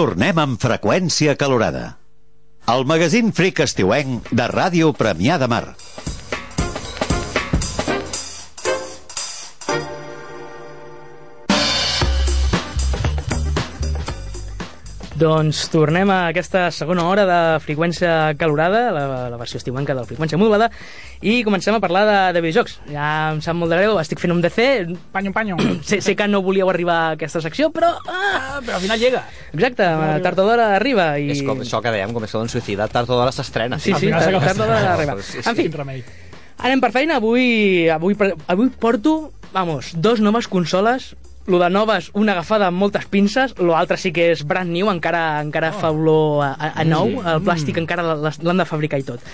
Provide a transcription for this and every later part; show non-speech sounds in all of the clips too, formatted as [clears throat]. Tornem amb freqüència calorada. El magazín Fric Estiuenc de Ràdio Premià de Mar. Eh, Doncs tornem a aquesta segona hora de freqüència calorada, la, la versió estiuenca de la freqüència modulada, i comencem a parlar de, de videojocs. Ja em sap molt de greu, estic fent un DC, Panyo, panyo. sé, sé que no volíeu arribar a aquesta secció, però... Ah, [coughs] Ah, però al final llega. exacte, tard o d'hora arriba. I... És com això que dèiem, com això d'un suïcida, tard o d'hora s'estrena. Sí, sí, final tard, s'acaba tard o d'hora arriba. Sí, sí. En fi, Quin remei. anem per feina. Avui, avui, pre- avui porto, vamos, dos noves consoles lo de noves, una agafada amb moltes pinces, lo altre sí que és brand new, encara encara Oh. fa olor a, a, a nou, el plàstic Mm. encara l'has- l'han de fabricar i tot.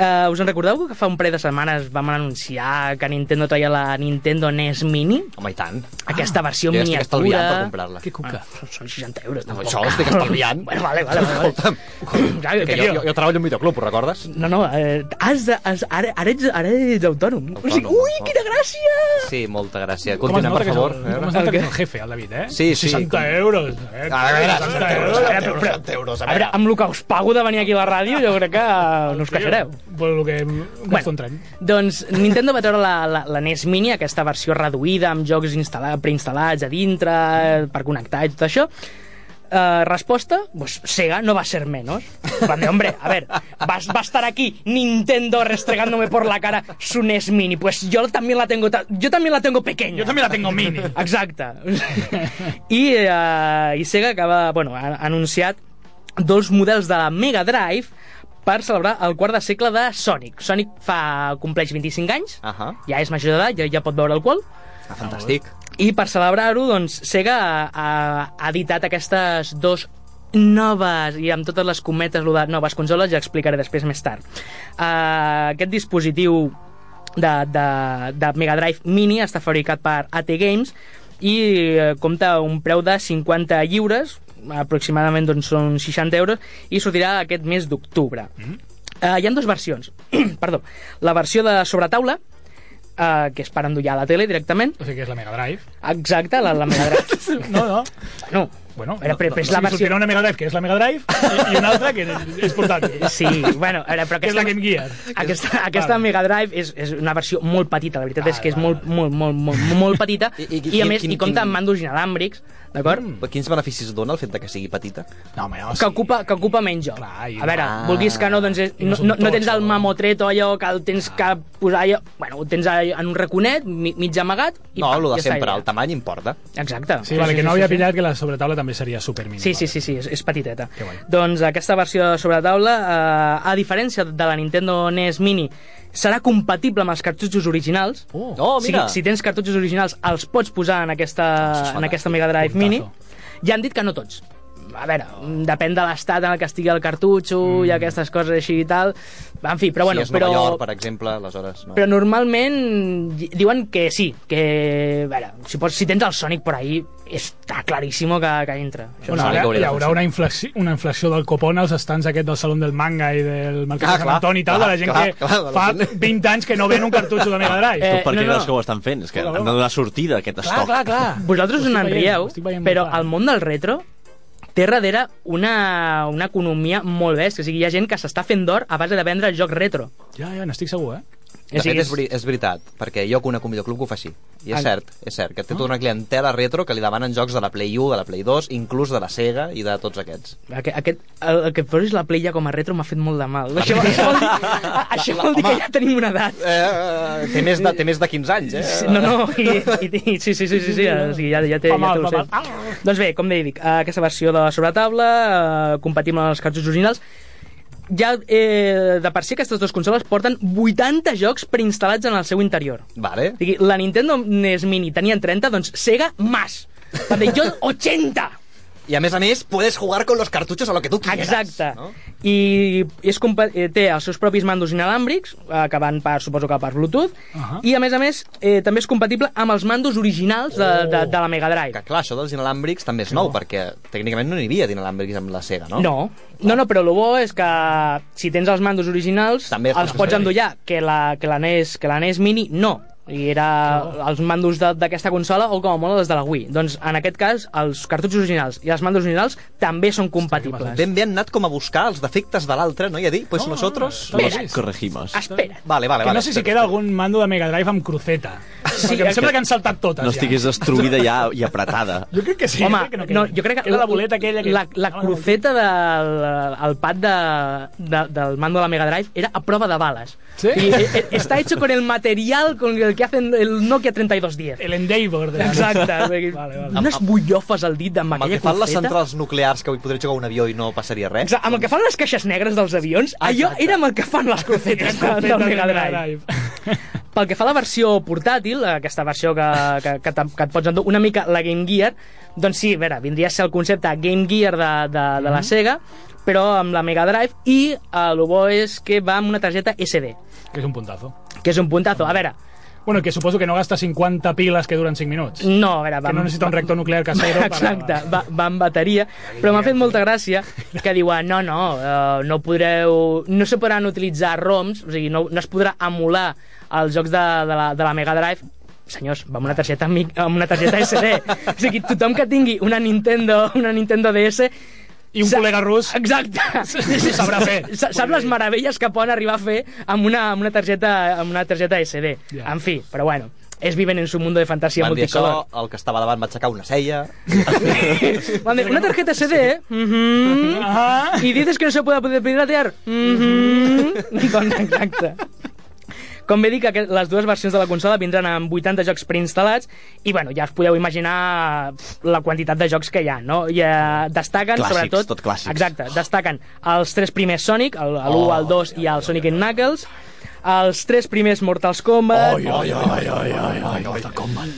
Uh, us en recordeu que fa un parell de setmanes vam anunciar que Nintendo traia la Nintendo NES Mini? Home, i tant. Aquesta versió Jo Ah. ja estic miniatura... estalviant per comprar-la. Ah. Que cuca. Són 60 euros, No, tampoc. això ho estic estalviant. Bueno, vale, vale, vale. Escolta'm, Ja, que jo, jo, jo treballo en un videoclub, ho recordes? No, no, eh, has de, has, ara, ara, ets, ara ets autònom. O sigui, Autònom, ui, autònom. quina gràcia! Sí, molta gràcia. Com es Continuem, nota per que és favor. el- A veure. Com es nota que és el jefe, el David, eh? Sí, sí. 60 euros. Eh? A veure, 60 euros, euros. 60 euros, 60 euros, a A veure, veure. amb el que us pago de venir aquí a la ràdio, jo crec que no us queixareu. Però el que em gasta un tren. doncs Nintendo va treure la, la, la NES Mini, aquesta versió reduïda, amb jocs instal·la- preinstal·lats a dintre, eh, per connectar i tot això. Uh, resposta, pues Sega no va a ser menos. Van de, hombre, a ver, va, va a estar aquí Nintendo restregándome por la cara su NES Mini. Pues yo también la tengo, ta- yo también la tengo pequeña. Yo también la tengo mini. Exacte. I, uh, I Sega acaba, bueno, ha ha anunciat dos models de la Mega Drive per celebrar el quart de segle de Sonic. Sonic fa, compleix 25 anys, Ahà, ja és major d'edat, ja, ja pot veure alcohol, ah, fantàstic. i per celebrar-ho, doncs, Sega ha, ha, ha editat aquestes dos noves, i amb totes les cometes, lo de noves consoles, ja explicaré després més tard. Uh, aquest dispositiu de, de, de Mega Drive Mini està fabricat per AT Games i eh, compta un preu de 50 lliures, aproximadament doncs, són 60 euros, i sortirà aquest mes d'octubre. Mm -hmm. uh, hi ha dues versions. [clears throat] Perdó. La versió de sobretaula, uh, que és per endollar a la tele directament, O sigui que és la Mega Drive. Exacte, la, la Mega Drive. No, no. No, Bueno, Era, però, però és la o sigui, versió... sortirà una Mega Drive que és la Mega Drive i, i una altra que és portàtil. Sí, bueno, a veure, però [laughs] Que és aquesta... la Game Gear. Aquesta, aquesta Vale. Mega Drive és, és una versió molt petita, la veritat és que és Vale, molt, molt, molt, molt, molt petita I- i, i- i, i- a més quin- hi compta quin- amb mandos inalàmbrics, d'acord? Mm, Però Quins beneficis dona el fet de que sigui petita? No, home, no, Que ocupa, que ocupa menys joc. Clar, i- a veure, Ah. vulguis que no, doncs és, I no, no Ah. és un no, no tens totxo. el mamotreto allò que el tens que posar allò... Bueno, ho tens allò en un raconet, mi- mig amagat... I No, pam, el ja de està, sempre, ja. el tamany importa. Exacte. Sí, vale, que no havia pillat que la sobretaula també seria supermini. Sí, sí, sí, sí, és, és petiteta. Que guai. Doncs aquesta versió sobre la taula, eh, a diferència de la Nintendo NES Mini, serà compatible amb els cartutxos originals. Oh, No, si, mira. Doncs si tens cartutxos originals, els pots posar en Això és aquesta, en fantàstic. aquesta Mega Drive Puntazo. Mini. Ja han dit que no tots. A veure, depèn de l'estat en el que estigui el cartutxo mm. i aquestes coses així i tal. En fi, però bueno... si és Nova però... York, per exemple, aleshores... No. Però normalment di- diuen que sí, que... A veure, si, pots, si tens el Sonic per ahí, està claríssim que, que entra. Això Bueno, Sonic ara hauria hi de haurà funcionar. una inflació, una inflació del copón als estants aquest del Salón del Manga i del Mercat de Ah, Sant clar, Antoni i tal, clar, de la gent clar, que clar, de la fa gent. 20 anys que no ven un cartutxo de Mega Drive. Eh, tu per no, què no. creus que ho estan fent? És que han de donar sortida a aquest clar, estoc. clar, clar. Vosaltres Ho us estic veient, ho n'enrieu, estic veient molt però clar. el món del retro té darrere una, una economia molt bèstia. O sigui, hi ha gent que s'està fent d'or a base de vendre jocs retro. Ja, ja, n'estic segur, eh? De fet, sigui, és, veri és veritat, perquè jo conec un videoclub que ho fa així. I Ah. és cert, és cert, que té tota una clientela retro que li demanen jocs de la Play 1, de la Play 2, inclús de la Sega i de tots aquests. Aquest, aquest, el, el que posis la play ja com a retro m'ha fet molt de mal. Ah, Això, això vol dir, això vol dir que ja tenim una edat. Eh, té, més de, té més de 15 anys, eh? Sí, No, no, i, i, i sí, sí, sí, sí, sí, o sigui, ja, ja, té, Fa ja mal, té fa el seu. mal. Ah! Doncs bé, com deia, dic, eh, aquesta versió de la sobretaula, eh, compatible amb els cartutxos originals, ja eh, de per si aquestes dues consoles porten 80 jocs preinstal·lats en el seu interior. Vale. O sigui, la Nintendo NES Mini tenia 30, doncs Sega más. Van dir, jo 80! I a més a més, puedes jugar con los cartuchos a lo que tú quieras. Exacte. No? I és compa- eh, té els seus propis mandos inalàmbrics, eh, que van per, suposo que per Bluetooth, Ahà. i a més a més eh, també és compatible amb els mandos originals de, de, de la Mega Que Drive. clar, això dels inalàmbrics també és nou, perquè tècnicament no n'hi havia d'inalàmbrics amb la Sega, no? No, no, no, però el bo és que si tens els mandos originals També els els pots pots fer servir. E endollar, que la, que la, NES, que la NES Mini no. i era els mandos de- d'aquesta consola o com a molt els de la Wii. Doncs en aquest cas, els cartutxos originals i els mandos originals també són compatibles. Ben bé han anat com a buscar els defectes de l'altre, no? I a dir, pues No, no, nosotros... no, no, Los Mira. corregimos. Espera. Vale, vale, Que vale. no sé si queda algun mando de Mega Drive amb cruceta. Sí, Sí, Perquè em és sembla que- que han saltat totes. No estiguis destruïda ja i [laughs] apretada. Ja. Jo crec que sí. Home, jo crec que no, no, queda. jo crec que Era la boleta aquella que... La, la Ah, cruceta del el pad de, de, del mando de la Mega Drive era a prova de bales. Sí? I, e- e- está hecho con el material con el que hacen el Nokia 3210. El Endeavor. De... [laughs] Exacte. Vale, vale. Unes bullofes al dit amb Amb el aquella que fan les cruceta. centrals nuclears que avui podré jugar un avió i no passaria res. Exacte, amb el que fan les caixes negres dels avions, allò Exacte. era amb el que fan les crucetes de, del Mega Drive. Pel que fa a la versió portàtil, aquesta versió que, que, que, te, que et pots endur una mica la Game Gear, doncs sí, a veure, vindria a ser el concepte Game Gear de, de, de la Sega, però amb la Mega Drive, i eh, el bo és que va amb una targeta SD, Que és un puntazo. que és un puntazo. A veure, Bueno, que suposo que no gasta 50 piles que duren 5 minuts. no, a veure... Que no necessita un reactor [laughs] nuclear casero. Mm. Exacte, Para... va, va amb bateria, però m'ha fet molta gràcia que diuen, no, no, eh, no podreu, no se podran utilitzar ROMs, o sigui, no, no es podrà emular els jocs de, de, la, de la Mega Drive, senyors, va amb una targeta, mic- amb una targeta [laughs] SD. o sigui, tothom que tingui una Nintendo, una Nintendo DS... I un sa- col·lega rus Exacte. ho sabrà fer. Sa- Sap les meravelles que poden arribar a fer amb una, amb una, targeta, amb una targeta SD. Ja. En fi, però bueno, és viven en su mundo de fantasia Van dir això, multicolor. el que estava davant va aixecar una cella... [laughs] Van dir, una tarjeta eh? CD mhm, Ah, y dices que no se puede poder piratear. [laughs] Mhm. doncs exacte. Com bé dic, aquest- les dues versions de la consola vindran amb 80 jocs preinstal·lats i, bueno, ja us podeu imaginar pf, la quantitat de jocs que hi ha, no? I, eh, destaquen, Clàssics, sobretot... tot clàssics. Oh, Exacte, destaquen els tres primers Sonic, el- l'1, el 2 i el Sonic and Knuckles, els tres primers Mortals Kombat... Oi, oi, oi, oi, oi, oi, oi,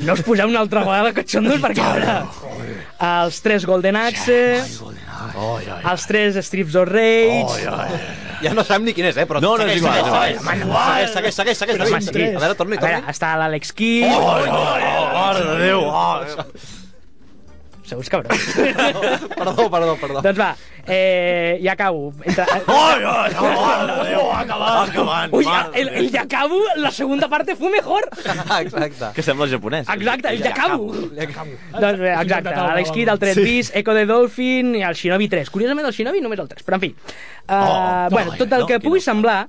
No us poseu una altra vegada cachondos perquè... ara- Els tres Golden Axe... Els tres Strips of Rage... Ja no sabem ni quin és, eh? Però No, no, és igual, segueix, no, segueix, és Segueix, segueix, segueix, segueix, Home, segueix. sí. A veure, torni, Tota A veure, [laughs] torni. està l'Àlex Kidd... Oh! Mare de Déu! Oh. Seus cabrons. [laughs] Perdó, perdó, perdó. [laughs] doncs va, eh, ja acabo. Entre... Ai, ai, ai, mare de Déu! Acabant, acabant, Ui, mare de el, el Déu. ja acabo, la segunda parte fue mejor. Exacte. Que sembla japonès. Exacte, el ja acabo. Ja acabo. Doncs bé, exacte, Intentava, Alex Kidd, el 3 sí. bis, Echo de Dolphin i el Shinobi 3. Curiosament, el Shinobi només el 3, però en fi. Uh, Oh, bueno, no, tot el no, que quina pugui semblar,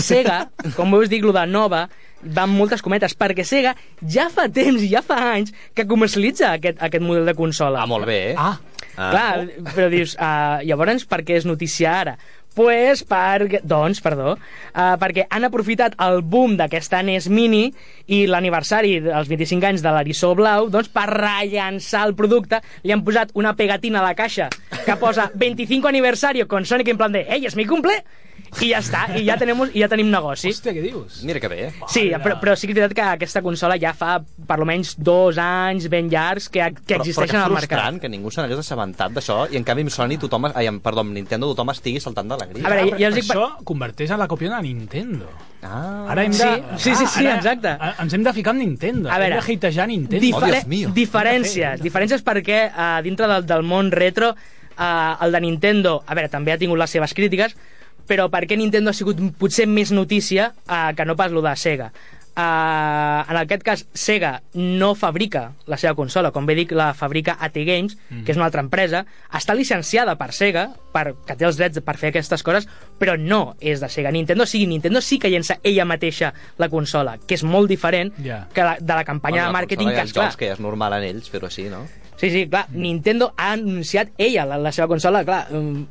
Sega, com bé us dic, lo de nova, va amb moltes cometes, perquè Sega ja fa temps i ja fa anys que comercialitza aquest, aquest model de consola. Ah, molt bé, eh? ah Ah. Clar, però dius, uh, llavors per què és notícia ara? Pues per... Doncs, perdó, uh, perquè han aprofitat el boom d'aquesta NES Mini i l'aniversari dels 25 anys de l'Arissó Blau doncs, per rellançar el producte. Li han posat una pegatina a la caixa que posa 25 aniversario con Sonic en plan de «Ei, és mi cumple!» i ja està, i ja, tenemos, i ja tenim negoci. Hòstia, què dius? Mira que bé, eh? Sí, però, però sí que és veritat que aquesta consola ja fa per almenys dos anys ben llargs que, que existeixen però, al però que mercat. frustrant que ningú se n'hagués assabentat d'això i en canvi amb Sony tothom, ai, amb, perdó, amb Nintendo tothom estigui saltant A d'alegria. veure, Ah, ja- però ja us dic per- Això converteix a la copiona de Nintendo. Ah, Ara hem de... Sí, sí, sí, sí, ara exacte. a- Ens hem de ficar amb Nintendo. A Hem veure, de hatejar Nintendo. Difere- Oh, Dios mío. Diferències, diferències perquè uh, dintre del, del món retro uh, el de Nintendo, a veure, també ha tingut les seves crítiques, però perquè Nintendo ha sigut potser més notícia uh, que no pas lo de Sega. Uh, en aquest cas, Sega no fabrica la seva consola, com bé dic, la fabrica AT Games, Mm-hmm. que és una altra empresa, està llicenciada per Sega, per, que té els drets per fer aquestes coses, però no és de Sega. Nintendo sí, Nintendo sí que llença ella mateixa la consola, que és molt diferent Ja. que la, de la campanya campanya Bueno, de màrqueting que consola hi ha és clar. jocs que és normal en ells fer-ho així, no? Sí, sí, clar, Nintendo ha anunciat ella la, la seva consola, clar, um,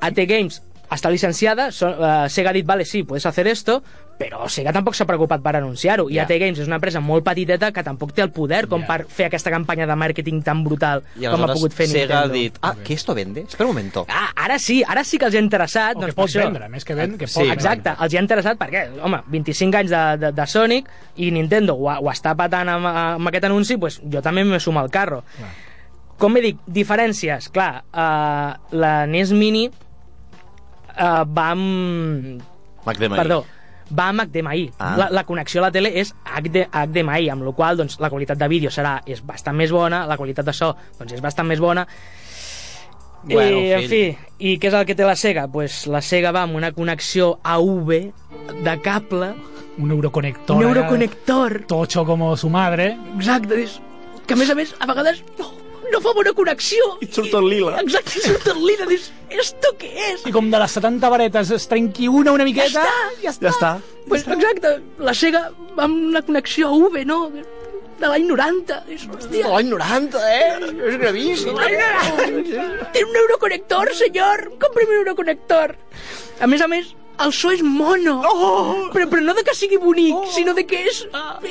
AT Games està llicenciada, so, uh, Sega ha dit, vale, sí, puedes hacer esto, però Sega tampoc s'ha preocupat per anunciar-ho, i Ja. AT Games és una empresa molt petiteta que tampoc té el poder com Ja. per fer aquesta campanya de màrqueting tan brutal com I ha aleshores pogut fer Nintendo. Sega ha dit, ah, que esto vende? Espera un momento. Ah, ara sí, ara sí que els ha interessat. O doncs que per pot això. vendre, més que ven, que Sí, pot vendre. Oh, Exacte, els hi ha interessat perquè, home, 25 anys de, de, de Sonic i Nintendo ho, ho està patant amb, amb aquest anunci, pues jo també me sumo al carro. Clar. Com bé dic, diferències. Clar, uh, la NES Mini uh, va amb... McDemay. Perdó, va amb HDMI. Ah. La, la connexió a la tele és HD, HDMI, amb la qual cosa doncs, la qualitat de vídeo serà és bastant més bona, la qualitat de so doncs, és bastant més bona, I, Bueno, en fill. fi, i què és el que té la Sega? Pues la Sega va amb una connexió AV de cable, Un euroconector. un eh? euroconector, Tocho como su madre. exacte, és, que a més a més, a vegades no, no fa bona connexió. I et surt el lila. Exacte, i surt el lila, dius, esto què és? I com de les 70 varetes es trenqui una una miqueta... ja Ja està. Pues, exacte, la Sega amb una connexió AV, no? De l'any 90. És, hòstia, L'any 90, eh? És gravíssim. Té un euroconector, senyor! Comprem un euroconector! A més a més, el so és mono. Oh! Però, però no de que sigui bonic, oh! sinó de que és,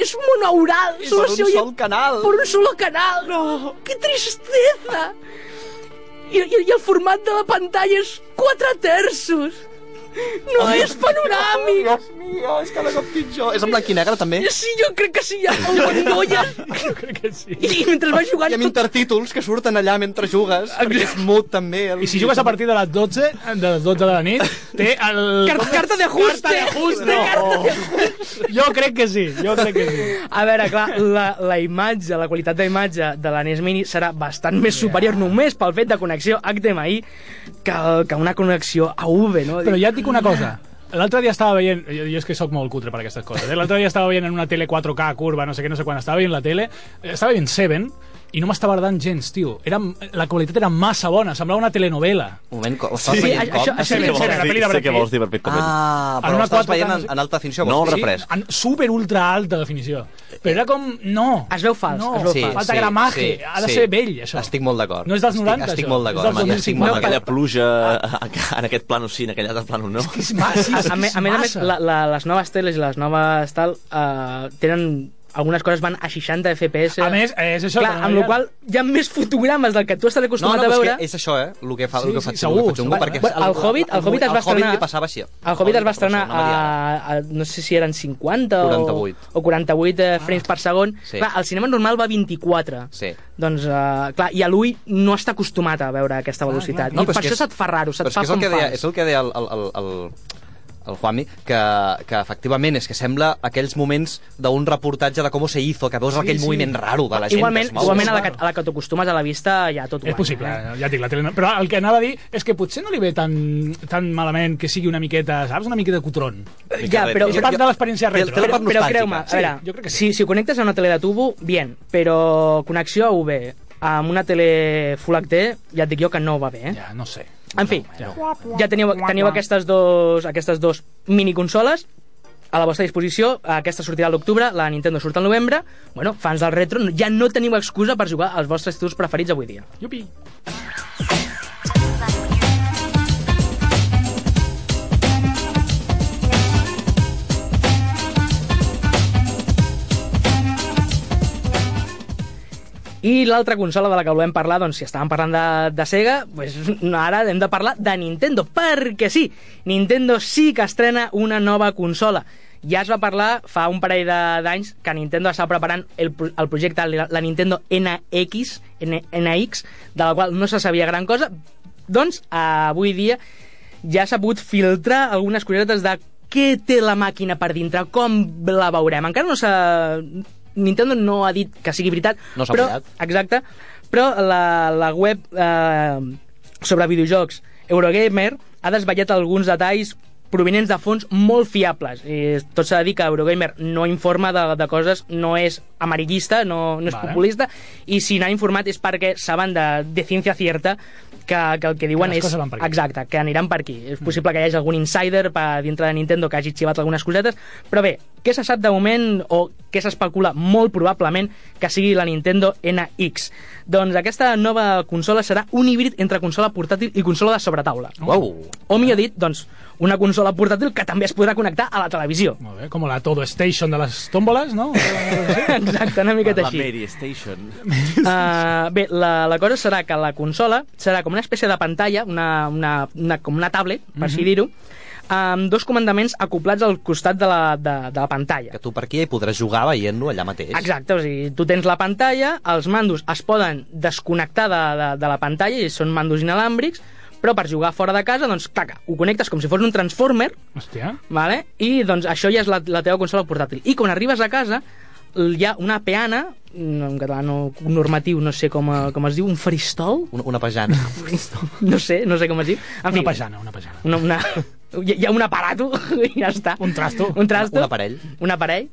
és monoural. Per un sol canal. Per un sol canal. No. Que tristesa! I, i, I el format de la pantalla és 4 terços. No Ai. és panoràmic. Dios mío, és cada cop pitjor. És en blanc i negre, també? Sí, jo crec que sí, hi ha [laughs] bombolles. Jo crec que sí. I, I mentre va jugant... Hi ha tot- intertítols que surten allà mentre jugues, perquè és mut, també. El... I si jugues a partir de les 12, de les 12 de la nit, té el... Car- Carta de ajuste. Carta de ajuste. Carta de ajuste. Jo crec que sí, jo crec que sí. A veure, clar, la, la imatge, la qualitat d'imatge de la NES Mini serà bastant més superior només pel fet de connexió HDMI que, el- que una connexió AV, no? Però ja et dic una cosa. L'altre dia estava veient... Jo, jo és que sóc molt cutre per aquestes coses. Eh? L'altre dia estava veient en una tele 4K curva, no sé què, no sé quan, estava veient la tele, eh, estava veient Seven, i no m'estava agradant gens, tio. Era, la qualitat era massa bona, semblava una telenovela. Un moment, com, ho estàs Sí, veient això- com? això- Ah, això- sí, Sé això- que què vols- la vols peli dir, de sé Brad què Pitt. vols dir per Pit Comet. Ah, En però una l'estàs 4K, veient no en, sé. en alta definició, No, vols dir? refresc. En super ultra alta definició. Però era com... No. Es veu fals, No. es veu sí, fals. Falta gramaje. ha de ser vell, això. Estic molt d'acord. No és dels 90, estic, estic això. molt És d'acord. dels home, ja 2005. estic Amb molt No, aquella d'acord. pluja, en aquest plan sí, en aquell altre plan no. És massa, és a, me, que és a més a més, massa. la, la, les noves teles i les noves tal uh, tenen... Algunes coses van a 60 FPS. A més, és això, Clar, que no amb la hi ha. qual cosa, hi ha més fotogrames del que tu estàs No, acostumat no, a però és veure. que és això, eh? El que fa, Sí, el que sí, fa segur, xungo, el que fa xungo, segur. perquè... Bueno, el Hobbit- el Hobbit es va El estrenar- Hobbit li passava així. El Hobbit es va estrenar persona mediana. a, a, no sé si eren 50 o, 48. o 48 eh, frames per segon. Ah. Sí. Clar, el cinema normal va a 24. Sí. Doncs, eh, clar, i a l'ull no està acostumat a veure aquesta velocitat. Ah, No, I però per és que això és- se't fa raro, se't Però és fa que és el com que deia, fals. és el que deia el, el, el, el, el Juanmi, que, que efectivament és que sembla aquells moments d'un reportatge de com se hizo, que veus sí, aquell sí. sí. moviment raro de la gent. Igualment, que es mou. igualment a, la és que, raro. a la que t'acostumes a la vista ja tot És guanya, possible, Ah. eh? eh? ja et dic, la tele... no- Però el que anava a dir és que potser no li ve tan, tan malament que sigui una miqueta, saps? Una miqueta cutron. Ja, però, És part de l'experiència Té- té retro. la però, part però nostàlgica. creu-me, a Sí, veure, jo crec que sí. si, si ho connectes a una tele de tubo, bien, però connexió a UV amb una tele Full HD, ja et dic jo que no va bé, eh? Ja, no sé. En fi, Ja. ja teniu, teniu aquestes dos, aquestes dos miniconsoles a la vostra disposició, aquesta sortirà a l'octubre, la Nintendo surt al novembre, bueno, fans del retro, ja no teniu excusa per jugar als vostres títols preferits avui dia. Yupi. I l'altra consola de la que volem parlar, doncs si estàvem parlant de, de Sega, doncs, ara hem de parlar de Nintendo, perquè sí, Nintendo sí que estrena una nova consola. Ja es va parlar fa un parell de- d'anys que Nintendo està preparant el, pro- el projecte, la la Nintendo NX, N, NX, de la qual no se sabia gran cosa, doncs avui dia ja s'ha pogut filtrar algunes cosetes de què té la màquina per dintre, com la veurem. Encara no s'ha... Nintendo no ha dit que sigui veritat, No s'ha però... mullat. Exacte. Però la, la web eh, sobre videojocs Eurogamer ha desvetllat alguns detalls provenents de fonts molt fiables. I tot s'ha de dir que Eurogamer no informa de, de coses, no és amarillista, no, no és Vale. vale. populista, i si n'ha informat és perquè saben de, de ciència cierta que, que el que diuen les és... coses van per aquí. Exacte, que aniran per aquí. És possible que hi hagi algun insider per dintre de Nintendo que hagi xivat algunes cosetes, però bé, què se sap de moment o què s'especula molt probablement que sigui la Nintendo NX? Doncs aquesta nova consola serà un híbrid entre consola portàtil i consola de sobretaula. Uau. O millor dit, doncs, una consola portàtil que també es podrà connectar a la televisió. Molt bé, com la Todo Station de les tòmboles, [laughs] no? Exacte, una miqueta La així. Mary Station. Uh, bé, la, la cosa serà que la consola serà com una espècie de pantalla, una, una, una, com una tablet, per Mhm. així dir-ho, amb dos comandaments acoplats al costat de la, de, de la pantalla. Que tu per aquí hi podràs jugar veient-lo allà mateix. Exacte, o sigui, tu tens la pantalla, els mandos es poden desconnectar de, de, de la pantalla i són mandos inalàmbrics, però per jugar fora de casa, doncs, clac, ho connectes com si fos un transformer, Hòstia. Vale? I doncs això ja és la, la teva consola portàtil. I quan arribes a casa, hi ha una peana, no, en català no, normatiu, no sé com, eh, com es diu, un faristol? Una, una pejana. No sé, no sé com es diu. En Una fi, pajana, una pajana. Una, una, hi hi ha un aparato, [laughs] i ja està. Un trasto. Un trasto. Un aparell. Un aparell,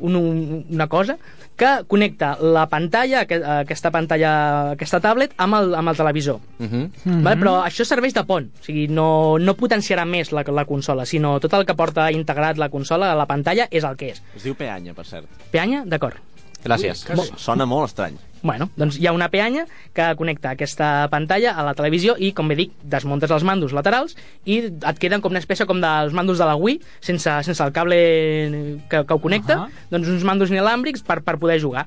un, un, una cosa, que connecta la pantalla, aqu- aquesta pantalla, aquesta tablet, amb el, amb el televisor. Uh -huh. Mm -hmm. Mhm. Val? Però això serveix de pont, o sigui, no, no potenciarà més la, la consola, sinó tot el que porta integrat la consola a la pantalla és el que és. Es diu peanya, per cert. Peanya? D'acord. Gràcies. Sona molt estrany. Bueno, doncs hi ha una peanya que connecta aquesta pantalla a la televisió i, com bé dic, desmuntes els mandos laterals i et queden com una espècie com dels mandos de la Wii, sense, sense el cable que, que ho connecta, uh Ahà. -huh. doncs uns mandos inelàmbrics per, per poder jugar.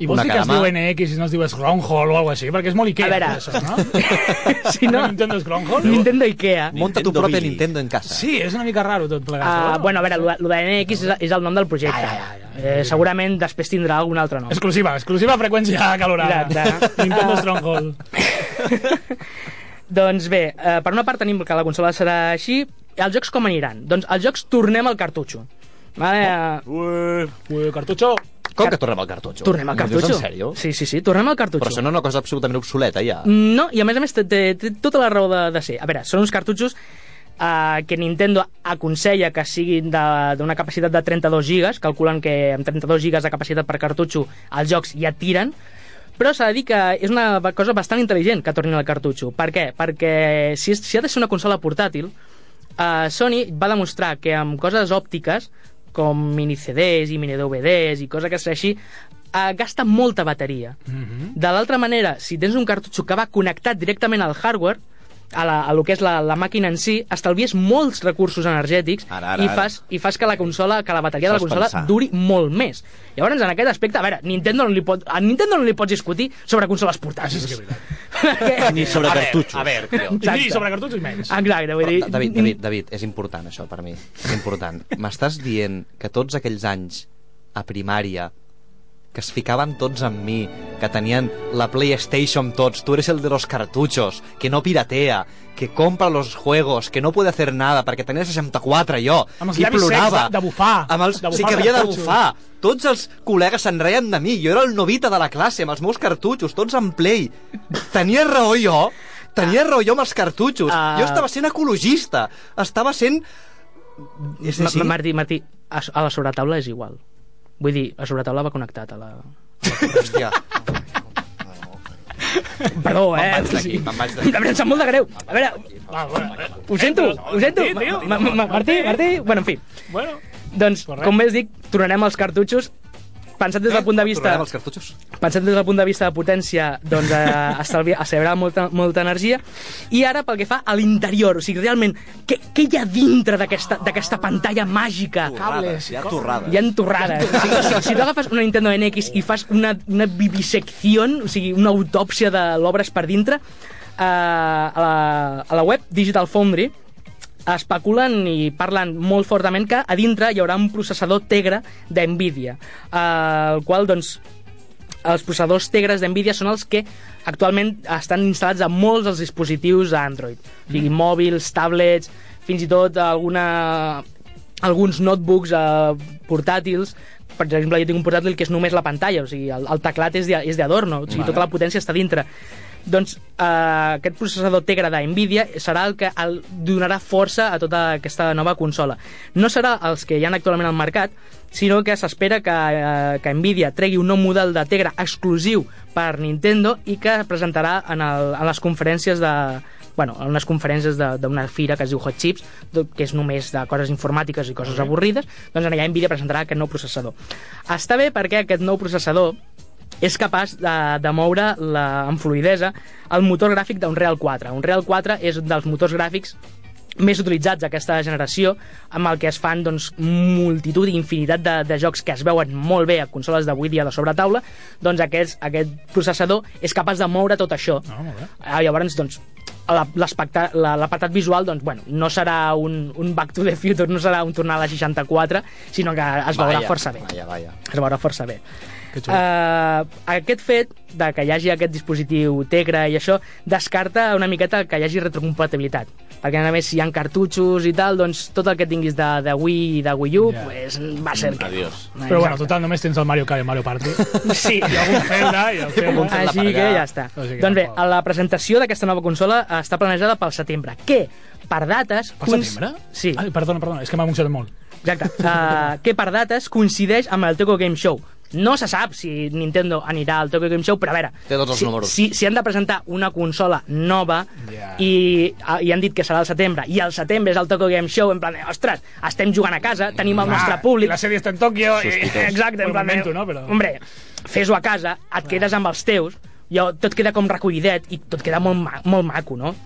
I vols Una dir que es cada diu mà. NX i no es diu Scronhall o alguna així? Perquè és molt Ikea, A veure. això, [laughs] no? Si no- Nintendo Scronhall? Nintendo Ikea. Monta tu Nintendo propi Mini. Nintendo en casa. Sí, és una mica raro tot plegat. Uh, no? bueno, a veure, lo de- lo de NX és, és el nom del projecte. Ja, ja, ja, Eh, segurament després tindrà algun altre nom. Exclusiva, exclusiva freqüència calorada. Exacte. Nintendo Ah. [laughs] Stronghold. Doncs bé, eh, per una part tenim que la consola serà així, els jocs com aniran? Doncs els jocs tornem al cartutxo. Vale, eh, Oh. Ué. Ui, cartutxo. Com que tornem al cartutxo? Tornem al M'ho dius cartutxo. En sèrio? Sí, sí, sí, tornem al cartutxo. Però sona una cosa absolutament obsoleta, ja. No, i a més a més té, té, té tota la raó de, de ser. A veure, són uns cartutxos eh, que Nintendo aconsella que siguin de- d'una capacitat de 32 gigas, calculen que amb 32 gigas de capacitat per cartutxo els jocs ja tiren, però s'ha de dir que és una ba- cosa bastant intel·ligent que tornin al cartutxo. Per què? Perquè si, és- si ha de ser una consola portàtil, eh, Sony va demostrar que amb coses òptiques, com mini CDs i mini DVDs i coses que sigui així, eh, gasta molta bateria. De l'altra manera, si tens un cartutxo que va connectat directament al hardware, a, la, a lo que és la, la màquina en si, estalvies molts recursos energètics Ara, ara, i, ara. fas, i fas que la consola, que la bateria de la Fas consola pensar. duri molt més. Llavors, en aquest aspecte, a veure, Nintendo no li pot, a Nintendo no li pots discutir sobre consoles portàtils. Això sí que és [laughs] veritat. Ni sobre Eh. a veure, cartutxos. a veure, tio. I sí, sobre cartutxos menys. Exacte, vull dir... Però, David, David, David, és important això per mi. És important. M'estàs dient que tots aquells anys a primària que es ficaven tots amb mi, que tenien la PlayStation tots, tu eres el de los cartuchos, que no piratea, que compra los juegos, que no puede hacer nada, perquè tenia 64 jo, Amb els i llavis secs plorava. de- de bufar. Amb els, De bufar sí, que els havia de cartutxos. bufar. Ah, Tots els col·legues se'n reien de mi, jo era el novita de la classe, amb els meus cartutxos, tots en play. Tenia raó jo, tenia raó jo amb els cartutxos. Ah. Jo estava sent ecologista, estava sent... És Ma- així? Ma- Martí, Martí, a, a la sobretaula és igual. Vull dir, a sobretaula va connectat a la... Hòstia, Perdó, eh? vaig d'aquí, me'n vaig d'aquí. De veritat, [laughs] em sap molt de greu. A veure, Va, bueno, eh, ho sento, ho sento. Martí, tio. Ma- ma- ma- Martí, Martí... Bueno, en fi. bueno. Doncs, Correcte. com bé us dic, tornarem als cartutxos. Pensat des del punt de vista... Eh, Tornarem als cartutxos? Pensant des del punt de vista de potència, doncs eh, [laughs] estalvi, estalviarà molta, molta energia. I ara pel que fa a l'interior, o sigui, realment, què, què hi ha dintre d'aquesta d'aquesta pantalla màgica? Torrades, hi ha torrades. Hi ha entorrades. O sigui, si, si tu agafes una Nintendo NX i fas una, una vivisecció, o sigui, una autòpsia de l'obres per dintre, eh, a, la, a la web Digital Foundry especulen i parlen molt fortament que a dintre hi haurà un processador Tegra d'NVIDIA, eh, el qual, doncs, els processadors Tegres d'NVIDIA són els que actualment estan instal·lats a molts dels dispositius Android. O sigui, mòbils, tablets, fins i tot alguna, alguns notebooks eh, portàtils. Per exemple, jo tinc un portàtil que és només la pantalla, o sigui, el, el teclat és de- és d'adorno, o sigui, tota la potència està dintre. Doncs eh, aquest processador Tegra de Nvidia serà el que el donarà força a tota aquesta nova consola. No serà els que hi ha actualment al mercat, sinó que s'espera que, eh, que Nvidia tregui un nou model de Tegra exclusiu per Nintendo i que presentarà en, el, en les conferències de bueno, en unes conferències de- d'una fira que es diu Hot Chips, do- que és només de coses informàtiques i coses avorrides, doncs allà Nvidia presentarà aquest nou processador. Està bé perquè aquest nou processador és capaç de, de moure la, amb fluidesa el motor gràfic d'un Real 4. Un Real 4 és un dels motors gràfics més utilitzats d'aquesta generació, amb el que es fan doncs, multitud i infinitat de, de jocs que es veuen molt bé a consoles d'avui dia de sobretaula, doncs aquest, aquest processador és capaç de moure tot això. Ah, molt bé. Ah, llavors, doncs, la- l'especta- la- l'apartat visual doncs, bueno, no serà un, un Back to the Future, no serà un tornar a la 64, sinó que es veurà Vaja, força bé. Vaja, vaja. Es veurà força bé. Que xulo. Uh, aquest fet de que hi hagi aquest dispositiu Tegra i això descarta una miqueta que hi hagi retrocompatibilitat perquè a més si hi ha cartutxos i tal, doncs tot el que tinguis de, de Wii i de Wii U Ja. yeah. pues, va ser que no. Adiós. Però bueno, total, només tens el Mario Kart i el Mario Party. [laughs] Sí, I algun Zelda, i el Zelda. Algun Zelda. així per que allà. ja està. O sigui que doncs bé, tampoc. la presentació d'aquesta nova consola està planejada pel setembre, que per dates... Per cons- setembre? Ah, Sí. Ai, perdona, perdona, és que m'ha emocionat molt. Exacte. Uh, que per dates coincideix amb el Tokyo Game Show. No se sap si Nintendo anirà al Tokyo Game Show, però a veure... Té tots els si, números. Si, si han de presentar una consola nova Ja. yeah. i, a- i han dit que serà al setembre, i al setembre és el Tokyo Game Show, en plan, de, ostres, estem jugant a casa, tenim el nostre públic... Mm. Ah, La sèrie està en Tòquio. i- Exacte, en Bueno, plan, de, momento, no? Però... hombre, fes-ho a casa, et quedes amb els teus, i tot queda com recollidet i tot queda molt, ma molt maco, no?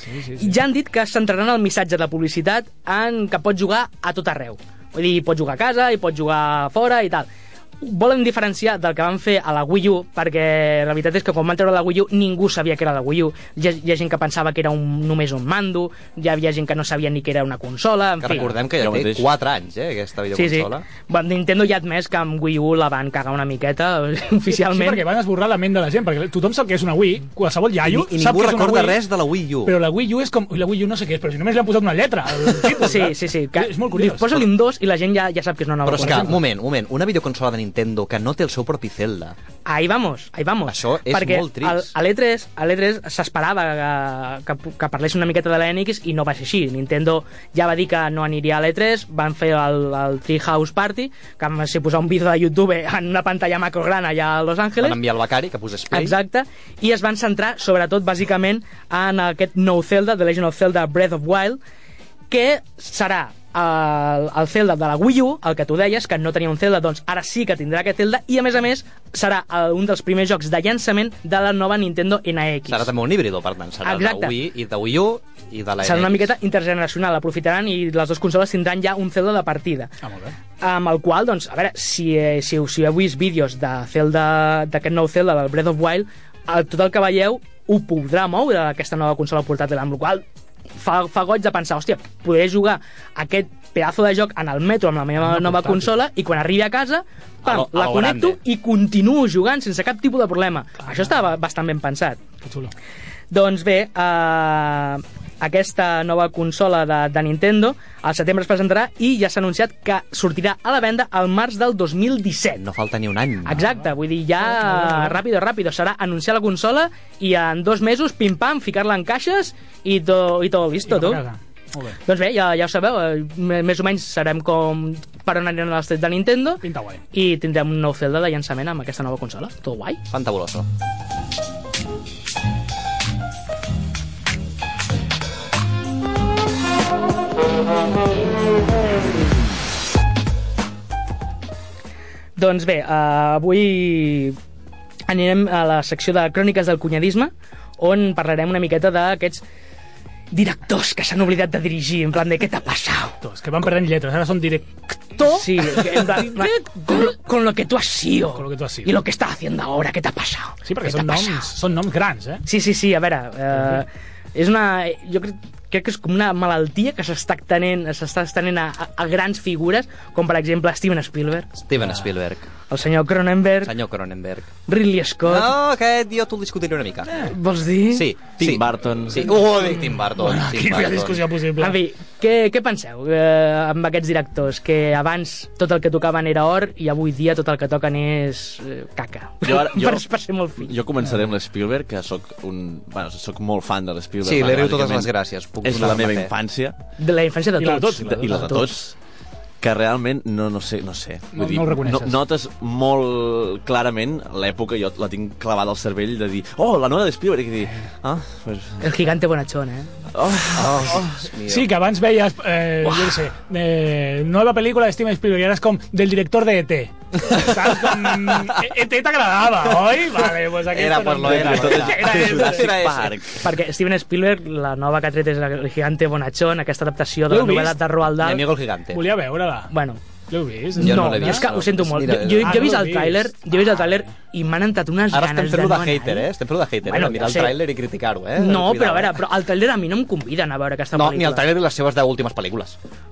Sí, sí, I ja han dit que es centraran el missatge de publicitat en que pots jugar a tot arreu. Vull dir, pots jugar a casa i pots jugar fora i tal. Volen diferenciar del que van fer a la Wii U, perquè la veritat és que quan van treure la Wii U ningú sabia que era la Wii U. Hi ha, hi ha gent que pensava que era un, només un mando, hi havia gent que no sabia ni que era una consola, en Que fi. recordem que ja Jo té mateix. 4 anys, eh, aquesta Sí, sí. videoconsola. Bueno, Nintendo ja ha admès que amb Wii U la van cagar una miqueta, [laughs] Sí, oficialment. perquè van esborrar la ment de la gent, perquè tothom sap que és una Wii, qualsevol I, iaio I sap ningú que és una recorda Wii, res de la Wii U. Però la Wii U és com... Ui, La Wii U no sé què és, però si només li han posat una lletra. al doncs, títol, Sí, clar. sí, sí. Que... És molt curiós. Posa-li un 2 i la gent ja, ja sap que és una nova Però és que, un consola. moment, un moment, una videoconsola de Nintendo que no té el seu propi Zelda. Ahí vamos, ahí vamos. Això és Perquè molt trist. al- A l'E3 a l'E3 s'esperava que, que, que parlés una miqueta de la NX i no va ser així. Nintendo ja va dir que no aniria a l'E3, van fer el, el Treehouse Party, que va ser posar un vídeo de YouTube en una pantalla macrograna allà a Los Angeles. Van enviar el Becari, que posés play. Exacte, i es van centrar sobretot bàsicament en aquest nou Zelda, The Legend of Zelda Breath of Wild, que serà el, el Zelda de la Wii U, el que tu deies, que no tenia un Zelda, doncs ara sí que tindrà aquest Zelda, i a més a més serà el, un dels primers jocs de llançament de la nova Nintendo NX. Serà també un híbrido, per tant. Serà Exacte. de Wii i de Wii U i de la serà una NX. miqueta intergeneracional, aprofitaran i les dues consoles tindran ja un Zelda de partida. Ah, molt bé. amb el qual, doncs, a veure, si, eh, si, us- si heu vist vídeos de Zelda, d'aquest nou Zelda, del Breath of Wild, el, tot el que veieu ho podrà moure aquesta nova consola portàtil, amb la qual fa, fa goig de pensar, hòstia, podré jugar aquest pedazo de joc en el metro amb la meva Una nova portàtil. consola i quan arribi a casa, A pam, lo- a la lo connecto grande. i continuo jugant sense cap tipus de problema. Això estava bastant ben pensat. Que xulo. Doncs bé, eh, aquesta nova consola de, de Nintendo al setembre es presentarà i ja s'ha anunciat que sortirà a la venda al març del 2017. No falta ni un any. Exacte, vull dir, ja ràpido, ràpido, serà anunciar la consola i en dos mesos, pim-pam, ficar-la en caixes i, to, i todo listo, I cap tu. a casa. Molt bé. Doncs bé, ja, ja ho sabeu, eh, me- més o menys sabem com per on aniran els trets de Nintendo Pinta guai. i tindrem un nou Zelda de llançament amb aquesta nova consola. Tot guai. Fantabuloso. Doncs bé, uh, avui anirem a la secció de cròniques del cunyadisme, on parlarem una miqueta d'aquests directors que s'han oblidat de dirigir, en plan de què t'ha passat? Tots, que van perdent lletres, ara són directe. Sí, en plan, [laughs] con, lo- con lo que tú has sido, Con lo que tú has sido. y lo que estás haciendo ahora, ¿qué te ha pasado? Sí, perquè ¿Qué te són ha noms, pasado? són noms grans, eh? Sí, sí, sí, a veure, eh, és una... Jo crec, crec que és com una malaltia que s'està extenent, s'està extenent a, a, a grans figures, com per exemple Steven Spielberg, Steven Spielberg. el senyor Cronenberg, Senyor Cronenberg. Ridley Scott... No, aquest jo t'ho discutiré una mica. Vols dir? Sí, Tim sí. Burton. Sí. Ui, Tim Burton. Bueno, Tim Quina Burton. discussió possible. En fi, què, què penseu eh, amb aquests directors? Que abans tot el que tocaven era or i avui dia tot el que toquen és eh, caca. Jo ara- jo- [laughs] per, per ser molt fi. Jo començaré amb l'Spielberg, que sóc un... Bueno, sóc molt fan de l'Spielberg. Sí, li riu totes bàsicament. les gràcies, puc És la donar-me meva fe. infància, De la infància de I la de tots. tots, de, i la de tots, que realment no, no sé, no sé. No- no el reconeixes. notes molt clarament l'època, jo la tinc clavada al cervell, de dir, oh, la nova de Spielberg, i dir, ah, pues, El gigante bonachón, eh? oh, oh, Sí, que abans veies, eh, jo què sé, eh, nova pel·lícula de Steven Spielberg, i ara és com del director de E.T. Saps? Com, E.T. t'agradava, oi? Vale, pues aquesta Era, E pues no no era. em- Era de ese, Jurassic era ese. Park. Perquè Steven Spielberg, la nova que ha tret és El gigante bonachón, aquesta adaptació de L'heu la novel·la vist? de Roald Mi Dahl. amigo el gigante. Volia veure-la. Bueno, L'heu vist? Jo no no, l'he jo és vist, que no. ho sento molt. Jo, jo, Ah, jo he no vist l'has el tràiler, vist. jo he vist el tràiler i m'han entrat unes Ara estem ganes de fent-ho no de anar-hi. hater, eh? Estem fent-ho de hater, Bueno, eh? De mirar ja el sé. tràiler i criticar-ho, eh? No, però a Cuidao, veure, eh? però el tràiler a mi no em conviden a veure aquesta No, ni pel·lícula. el tràiler ni les seves deu últimes pel·lícules.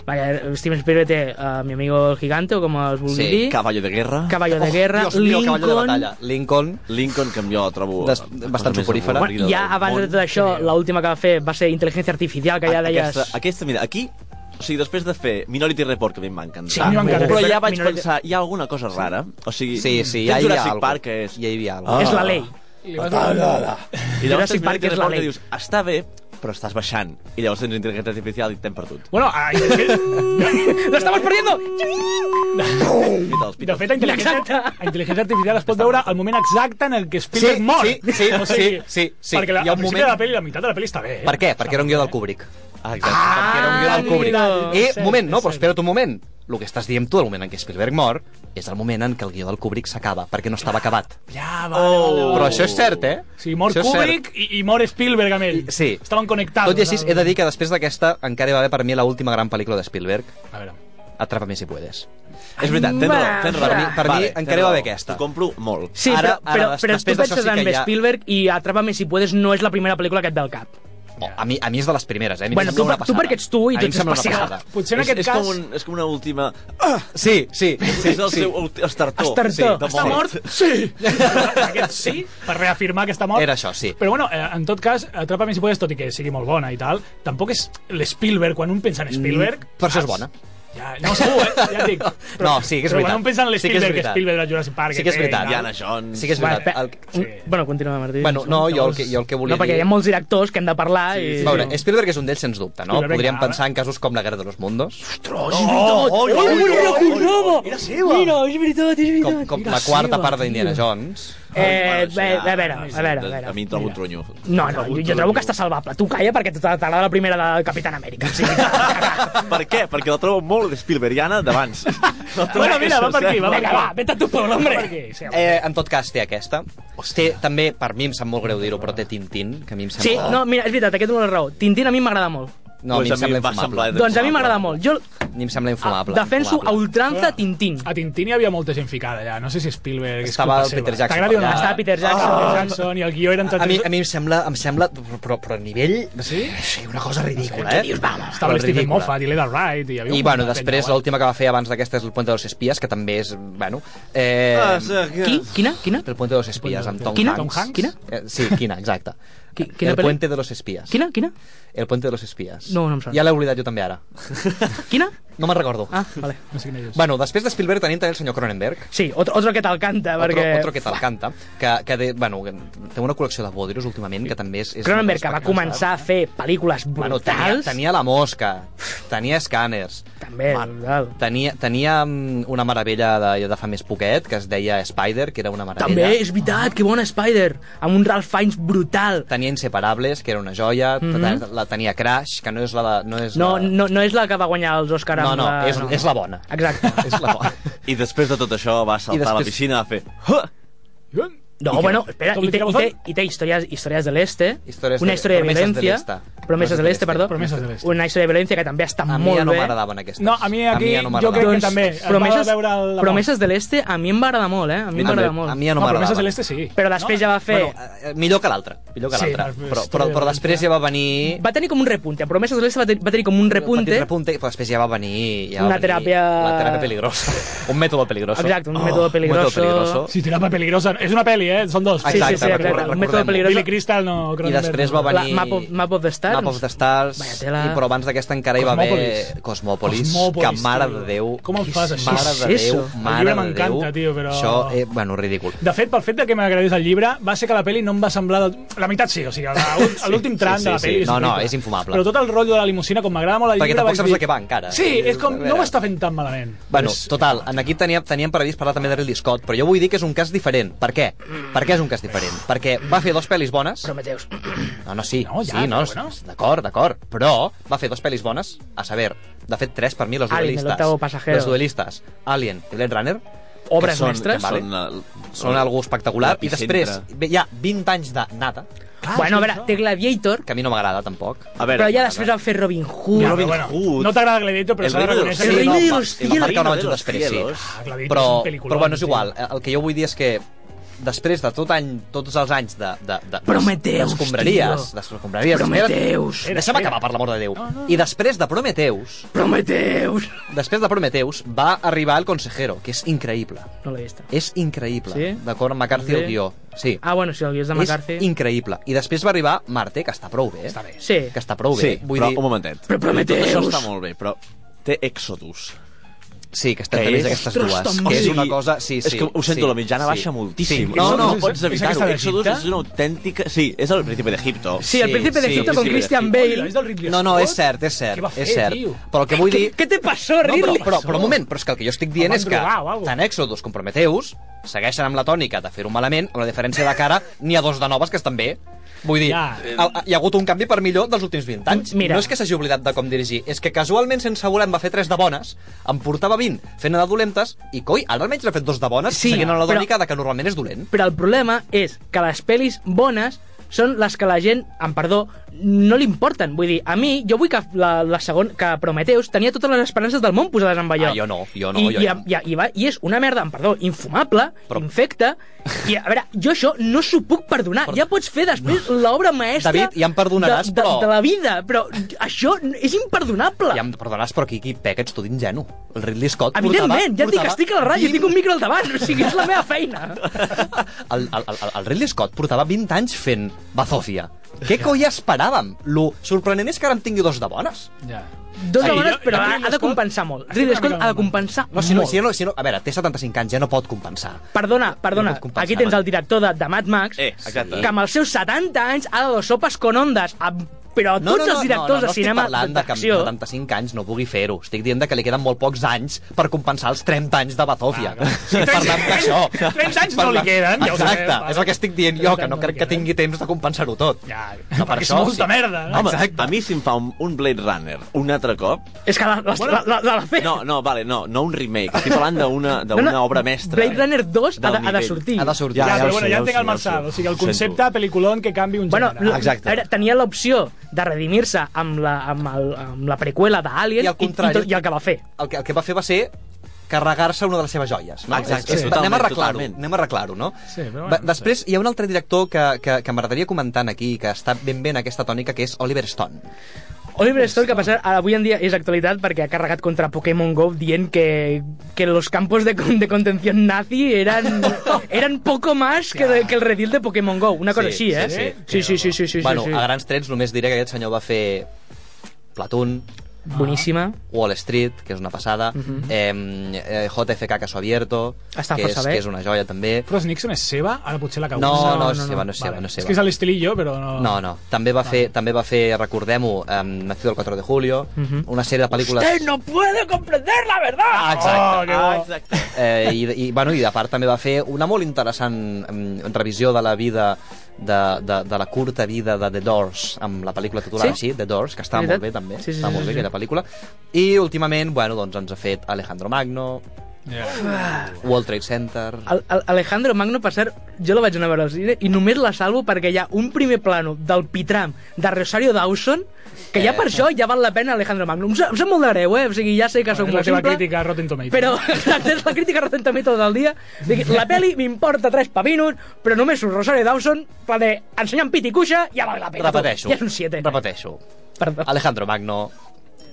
Vaya, Steven Spielberg té uh, Mi amigo el gigante, o com es vulgui Sí, Oh, dir, Caballo de guerra. Oh, Caballo de Guerra, Dios mío, Lincoln... caballo de batalla. Lincoln, Lincoln, que jo trobo... Des- la cosa bastant més soporífera. avorrida Bueno, ja del abans de món. tot això, l'última que va fer va ser Intel·ligència Artificial, que ja deies... Aquesta, aquesta, mira, aquí... O sigui, després de fer Minority Report, que a mi em va encantar. Sí, a mi m'encanta. Però ja vaig Minority- pensar, hi ha alguna cosa rara? O sigui, sí, tens sí, ja hi havia Jurassic alguna Park, que és... Ja hi havia Ah. alguna És la llei. Li vas I donar- llavors Jurassic tens Park Minority és la Report que llei. dius, està bé, però estàs baixant. I llavors tens intel·ligència artificial i t'hem perdut. Bueno, ai, de fet, ¡Lo estamos perdiendo! Pita els de pita. fet la, intel·ligència, [laughs] Exacte. la intel·ligència artificial es pot veure al moment exacte en el que Spielberg Sí, mor. sí, [laughs] sí, sí, sí, sí. Perquè la, Hi ha al un principi moment- de la pel·li, la meitat de la pel·li està bé. Eh? Per què? Perquè era un guió del Kubrick. Ah, exacte. perquè era un guió del Kubrick. amigo. Eh, Cert, moment, no, és però cert. espera't un moment. El que estàs dient tu, el moment en què Spielberg mor, és el moment en què el guió del Kubrick s'acaba, perquè no estava acabat. Ja, vale, oh. vale, vale. Però això és cert, eh? O sigui, mor Això és cert. Kubrick i, i mor Spielberg amb ell. I- sí. Estaven connectats. Tot i així, he de dir que després d'aquesta encara hi va haver per mi l'última gran pel·lícula de Spielberg, A veure, Atrapa-me si puedes. És veritat, tens raó, tens raó. Per mi- per mi Vale, encara tens va bé raó. aquesta. T'ho compro molt. Sí, Ara- ara, però, ara, però, després però tu d'això penses sí en que ja- Spielberg i Atrápame si puedes no és la primera pel·lícula que et ve al cap. Oh, a, mi, a mi és de les primeres, eh? A mi Bueno, em tu- sembla una tu passada. perquè ets tu i A tu mi em ets sembla una especial. [laughs] passada. potser en és, aquest és cas... Com un, és com una última... Sí, sí, Sí, sí, és el sí. seu ulti- estartor. Estartor. Sí, de Està mort? Sí. Aquest sí, per reafirmar que està mort. Era això, sí. Però bueno, eh, en tot cas, Atrapa més si puedes, tot i que sigui molt bona i tal, tampoc és l'Spielberg, quan un pensa en Spielberg... per això és saps? bona. Ja, no, segur, eh? Ja et dic. No, sí que és però veritat. quan un pensa en Sí que és l'Spielberg, que, veritat. Spielberg de Jurassic Park... Sí que és té i veritat. tal, Diana Jones. Sí que és veritat. Bueno, El, Sí. Bueno, continua, Martí. bueno, no, jo el que, jo el que volia no, perquè dir... hi ha molts directors que hem de parlar i... A veure, Spielberg és un d'ells, sens dubte, no? Spielberg, Podríem ara. pensar en casos com La Guerra de los Mundos, Oh, oh, oh, oh, oh, oh, Mira, és veritat, és veritat. com, com la quarta part d'Indiana Jones. Eh, Bueno, sí, bé, ja, a veure, a veure, a A veure. mi em trobo un trunyo. No, no, jo, jo trobo que està salvable. Tu calla perquè t'agrada la primera del Capitán Amèrica. Sí, Per què? Perquè la trobo molt de Spielbergiana d'abans. La trobo [laughs] Bueno, mira, va per aquí, va per Vinga, aquí. va, vete a tu pueblo, hombre. Perquè, sí, Eh, en tot cas, té aquesta. Té, també, per mi em sap molt greu dir-ho, però té Tintín, que a mi em sembla... Sí, no, mira, és veritat, aquest dona la raó. Tintín a mi m'agrada molt. no a mi em Pues a mi sembla em va infumable. semblar- Doncs a mi m'agrada molt. Jo A mi em sembla ah, infumable. defenso a infumable. ultranza Tintín. A Tintín hi havia molta gent ficada allà. No sé si Spielberg... és Estava culpa el seva. Peter Jackson T'agradi o no? allà. Estava Peter Jackson. Peter Peter Jackson. Jackson i el guió eren... A mi, entretes- a mi em sembla, em sembla però, però a nivell... Sí? Sí, una cosa ridícula, eh? Dius, va, Estava el Stephen Moffat i l'Eda Wright i hi havia I, un bueno, munt de penya, després eh? l'última que va fer abans d'aquesta és El puente de los espías, que també és, bueno... Eh, Ah, sí, que- Qui? Quina? Quina? El puente de los espías, amb Tom Quina? Hanks. Tom Hanks? Quina? Eh, sí, quina, exacte. Qui- quina el pel·li? puente de los espías. Quina? Quina? El puente de los espías. No, no em sona. Ja l'he oblidat jo també ara. Quina? No me'n recordo. Ah, vale. No sé quina és. Bueno, després de Spielberg tenim també el senyor Cronenberg. Sí, otro, otro que te'l canta, Otro, perquè... otro que te'l canta, que, que de, bueno, que té una col·lecció de bòdiros últimament que també és... és Cronenberg, que va espectacular. començar a fer pel·lícules Bueno, tenia, brutals... tenia la mosca, tenia escàners, També, brutal. tenia, tenia mm, una meravella de, de fa més poquet, que es deia Spider, que era una meravella. També, és veritat, que bona Spider, amb un Ralph Fiennes brutal. Tenia Inseparables, que era una joia, mm -hmm. la tenia Crash, que no és la... De, no, és Mhm. No, la... no, no és la que va guanyar els Oscar no, amb no, la... és, és la bona. Exacte. [laughs] [laughs] És la bona. I després de tot això va saltar I després... a la després- piscina a fer... "Huh!" No, bueno, espera, Com i li té, tireu i té, fort? i té historias, historias del Este, Historias una de- història de Promesas del violència, Este. Promesas del Este, perdó, Promesas del Este. una història de violència que també està A mi molt ja no bé. m'agradaven aquestes. No, a mi aquí ja no jo m'agradaven. crec que Doncs, també es va promeses, veure la promeses de l'Este a mi em va agradar molt, eh? A mi em va agradar molt. A mi ja no no, Promesa m'agradaven. Celeste sí. Però després ja va fer... Bueno, eh, millor que l'altre, millor que Sí, l'altre. les- però, les però, però teves- després ja va venir... Va tenir com un repunte, a Promeses de l'Este va, ten va tenir com un un petit repunte, repunte, però després ja va venir... Ja va Una venir teràpia- La teràpia peligrosa. [laughs] un mètode peligroso. Exacte, un mètode peligroso. Oh, Un mètode peligroso. Sí, tirapa peligrosa. És una peli, eh? Són dos. Sí, sí, sí, recordem- exacte. Un mètode recordem-ho. peligroso. Billy Crystal, no I Cronenberg. després va la venir... Map of, Map of the Stars. Map of the Stars, Vaya i, tela. però abans d'aquesta encara hi va Cosmòpolis. haver Cosmòpolis, que Cosmòpolis, mare tio. de Déu... Com el fas, això? Mare Què de és Déu, això? mare El llibre de Déu. m'encanta, tio, però- Això, eh, bueno, ridícul. De fet, pel fet de que m'agradés el llibre, va ser que la peli no em va semblar... Del... La meitat sí, o sigui, la- a l'últim tram sí, de la sí, peli... sí. No, no, horrible. és infumable. Però tot el rotllo de la limusina, com m'agrada molt el Perquè llibre... tampoc vaig saps dir- de què va, encara. Sí, és com... A No veure. m'està fent tan malament. Bueno, És- total, en aquí teníem, teníem previst parlar també de Ridley Scott, però jo vull dir que és un cas diferent. Per què? Per què és un cas diferent? Perquè va fer dos pel·lis bones... Prometeus. [clears throat] No, no, sí, No, ja, sí, no, però és- bueno. d'acord, d'acord, però va fer dos pel·lis bones, a saber, de fet, tres per mi, Los Alien, el Duelistes. octavo pasajero. Los Duelistes, Alien i Blade Runner, Obres Són- mestres. Són, eh, el- Oh, són algo espectacular, i L'epicentre. després ve- hi ha 20 anys de nada, Clar, bueno, a és veure, això. té Gladiator, Que a mi no m'agrada, tampoc. A veure, però ja després van fer Robin Hood. Ja, Robin Hood. No t'agrada Gladiator, però El s'ha de reino de los reconèixer El que reino cielos. de no, los el cielos. marca un reino de anjo los després, sí. cielos. Ah, Gladiator Però, és un peliculón, però bueno, és tio. igual. El que jo vull dir és que després de tot any, tots els anys de... de, de Prometeus, D'escombraries. tio. D'escombraries. Prometeus. Espera't. Deixa'm acabar, per l'amor de Déu. I després de Prometeus, Prometeus! després de Prometeus, va arribar el Consejero, que és increïble. No l'he vist. És increïble. Sí? D'acord amb McCarthy Sí. el guió. Sí. Ah, bueno, sí, el guió és de McCarthy. És increïble. I després va arribar Marte, que està prou bé. Està bé. Sí. Que està prou Sí, bé. Vull però dir, un momentet. Però Prometheus. Tot això està molt bé, però té Exodus. Sí, que estan Que feliç és- d'aquestes Ostres, dues. també. Que és una Sí. cosa... Sí, sí, és que ho sento, sí, la mitjana sí. baixa moltíssim. Sí. I No, no, no, no pots és aquesta evitar-ho. de Exodus Egipte? és una autèntica... Sí, és el Príncipe d'Egipto. Sí, el Sí, príncipe sí, d'Egipto sí, con sí, Christian sí. Oi, Bale. l'has vist del Ridley No, no, Scott? és cert, és cert, Què va fer, és cert. tio? Però el que vull dir... Què te passó, No, però, Ridley? però, però, un moment, però és que el que jo estic dient El van és que drogar o algo. tant Exodus com Prometheus segueixen amb la tònica de fer-ho malament, amb la diferència de cara, n'hi ha dos de noves que estan bé. Vull dir, Ja. el, hi ha hagut un canvi per millor dels últims 20 anys. Mira. No és que s'hagi oblidat de com dirigir, és que casualment sense voler en va fer 3 de bones, en portava 20 fent de dolentes, i coi, ara almenys n'ha fet dos de bones, Sí, seguint amb la però- tònica de que normalment és dolent. Però el problema és que les pel·lis bones són les que la gent, amb perdó, no li importen. Vull dir, a mi, jo vull que la, la segon, que Prometeus tenia totes les esperances del món posades en allò. Ah, jo no, jo no, I, jo i, no. I, i, va, I és una merda, amb perdó, infumable, Però- però... infecta, i a veure, jo això no s'ho puc perdonar. Però... Ja pots fer després no. l'obra maestra David, ja em perdonaràs, de, de, però- de la vida, però això és imperdonable. Ja em perdonaràs, però aquí qui peca ets tu d'ingenu. El Ridley Scott portava... Evidentment, ja et dic que portava estic a la ràdio, 20 tinc un micro al davant, o sigui, és la meva feina. [laughs] el, el, el, el Ridley Scott portava 20 anys fent Bazofia. Què coi esperàvem? Lo sorprenent és que ara en tingui dos de bones. Ja. Dos Sí, sí, dones, jo- però jo ha, Ridley ha de Scott- compensar molt. Estic Ridley una Scott ha mica de malament. compensar No, si no, molt. si no, si no, a veure, té 75 anys, ja no pot compensar. Perdona, perdona, pot compensar, aquí tens Marc. el director de, de Mad Max, Eh, exacte. que amb els seus 70 anys ha de dos sopes con ondes, amb, però No, tots no, no, els directors no, no, no de cinema estic parlant de que amb d'acció... 75 anys no pugui fer-ho. Estic dient de que li queden molt pocs anys per compensar els 30 anys de Bazofia. Ah, clar. [laughs] estic parlant d'això. 30 anys no li queden, ja ho sabem, Exacte, vale. és el que estic dient jo, 30 que no no li crec que queden. tingui temps de compensar-ho tot. Ja, No, per perquè és això, molta sí. merda. No? Home, Exacte. a mi si em fa un, un Blade Runner un altre cop... És que la, la, la, la, la, la fe... No, no, vale, no, no un remake. Estic parlant d'una no, no, obra mestra. Blade Runner Del 2 ha de, ha de nivell. sortir. eh, Ha de sortir. Ja, Ja, ja, ja però ho bueno, sé, ja ja ho sé, entenc el ja ho sé. Marçal. O sigui, el Ho sento. concepte pel·liculón que canvi un Bueno, gènere. la, Exacte. era, tenia l'opció de redimir-se amb la, amb, el, amb la preqüela d'Alien I i, al i, contrari. tot- i el que va fer. el que, el que va fer va ser carregar-se una de les seves joies. No? Exacte, És, és, sí. anem a Totalment, arreglar-ho, totalment. anem a arreglar-ho, no? Sí, però bueno, Va- no Després hi ha un altre director que, que, que m'agradaria comentar aquí, que està ben bé en aquesta tònica, que és Oliver Stone. Oliver Stone, que passa, avui en dia és actualitat perquè ha carregat contra Pokémon GO dient que, que los campos de, con- de contención nazi eran, eran poco más que, de- que el redil de Pokémon GO. Una cosa Sí, així, eh? Sí, sí, sí, sí, sí, sí, sí, bueno, sí. a grans trets només diré que aquest senyor va fer Platoon, Boníssima. Wall Street, que és una passada, uh -huh. eh, eh, JFK Caso Abierto, Mhm. Està que és, força bé. que és una joia també. Ah, Frost Nixon és seva? Ara potser la No, cau. no, no, és no, seva, no. no és seva, no és És seva. que és l'estilillo, però Ah. no... No, no. També va fer, també va fer recordem-ho, um, Nacido el 4 de Julio, una sèrie de pel·lícules... Usted Mhm. no puede comprender la verdad! Ah, Oh, exacte. que bo. exacte. Eh, i, i, bueno, I de part també va fer una molt interessant mm, revisió de la vida de, de, de la curta vida de The Doors amb la pel·lícula titulada Sí? així, The Doors, que estava Veritat? molt bé també, Sí, sí, estava sí, molt sí, bé sí. aquella pel·lícula i últimament bueno, doncs ens ha fet Alejandro Magno Ah, Yeah. World Trade Center El, el Alejandro Magno, per cert, jo la vaig anar a veure al cine i només la salvo perquè hi ha un primer plano del pitram de Rosario Dawson que ja per això ja val la pena Alejandro Magno. Em sap, em sap molt de greu, eh? O sigui, ja sé que sóc És la molt teva simple. crítica a Rotten Tomatoes. Però [laughs] exacte, és la crítica Rotten Tomatoes del dia. Dic, la peli m'importa tres pavinos, però només surt Rosario Dawson per de ensenyant pit i cuixa, ja val la pena. tu. repeteixo, Ja és un 7. repeteixo Perdó. Alejandro Magno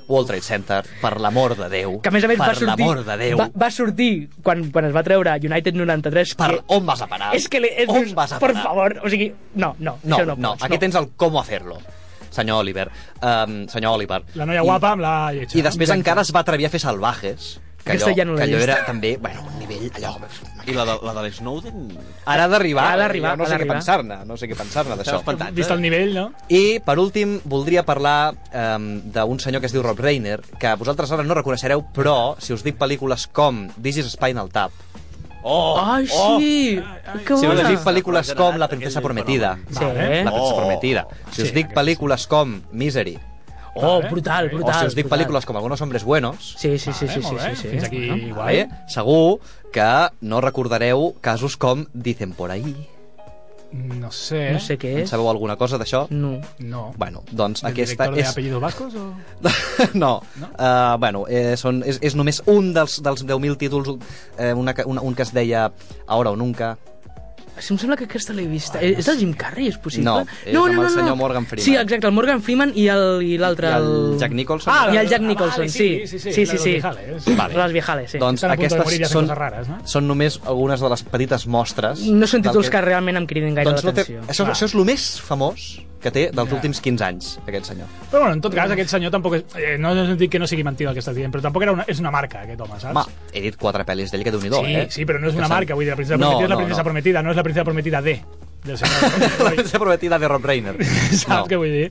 World Trade Center, per l'amor de Déu Que a més a més per va sortir... l'amor de Déu Va, va sortir quan, quan es va treure United 93 per que- on vas a parar És que le, és, on vas a per parar favor, o sigui, no, no, No, això no, no, no. pots, Aquí tens el com hacerlo, senyor Oliver. Um, senyor Oliver. La noia guapa amb la lletja. I, I després encara es va atrevir a fer salvajes. Que Aquesta allò, ja no l'he que allò vist. era també, bueno, un nivell allò... I la de, la de l'Snowden... Ara ha d'arribar, Ha d'arribar, jo no ha sé què d'arribar. pensar-ne, no sé què pensar-ne T'has d'això. espantat, eh? Vist el nivell, no? I, per últim, voldria parlar um, d'un senyor que es diu Rob Reiner, que vosaltres ara no reconeixereu, però, si us dic pel·lícules com This is Spinal Tap, Oh, Ai, oh. sí! que si us bona! dic pel·lícules M'ha com La agradat princesa aquell prometida, fenomen. Sí, Vale. eh? La princesa Oh. prometida, si us Sí, dic pel·lícules com Misery, Oh, Vale. brutal, brutal. o si us dic brutal. pel·lícules com Algunos hombres buenos, Sí, sí, sí, Vale, sí, sí, molt bé. sí, sí. Fins aquí, No? guai. Vale? Segur que no recordareu casos com Dicen por ahí, No sé. No sé què En és. sabeu alguna cosa d'això? No. No. Bueno, doncs ¿Del aquesta director de és... apellidos vascos o...? [laughs] no, No? no? Uh, bueno, eh, són, és, és només un dels, dels 10.000 títols, eh, una, que- una, un que es deia Ahora o Nunca. Sí, em sembla que aquesta l'he vista. Eh, és el Jim Carrey, és possible? No, és amb el senyor Morgan Freeman. Sí, exacte, el Morgan Freeman i el- i l'altre... I el Jack Nicholson. Ah, Ah, I el Jack vale, Nicholson, sí. sí, sí, sí, sí, la de sí, los sí. viejales. Vale. Les viejales, sí. Doncs Estan a punt de morir aquestes de fer són, coses rares, no? són només algunes de les petites mostres. no són del títols que... realment em cridin gaire Doncs no té... l'atenció. això, Clar. això és el més famós que té dels Ja. últims 15 anys, aquest senyor. Però bueno, en tot cas, aquest senyor tampoc... És, eh, no, no dic que no sigui mentida el que estàs dient, però tampoc era una, és una marca, aquest home, saps? Home, he dit quatre pel·lis d'ell que déu nhi sí, eh? sí, però no és una Que marca, vull dir, la princesa No, prometida és la no, princesa no. prometida, no és la princesa prometida D, del [laughs] senyor. La princesa prometida de Rob Reiner. [laughs] Saps què vull dir?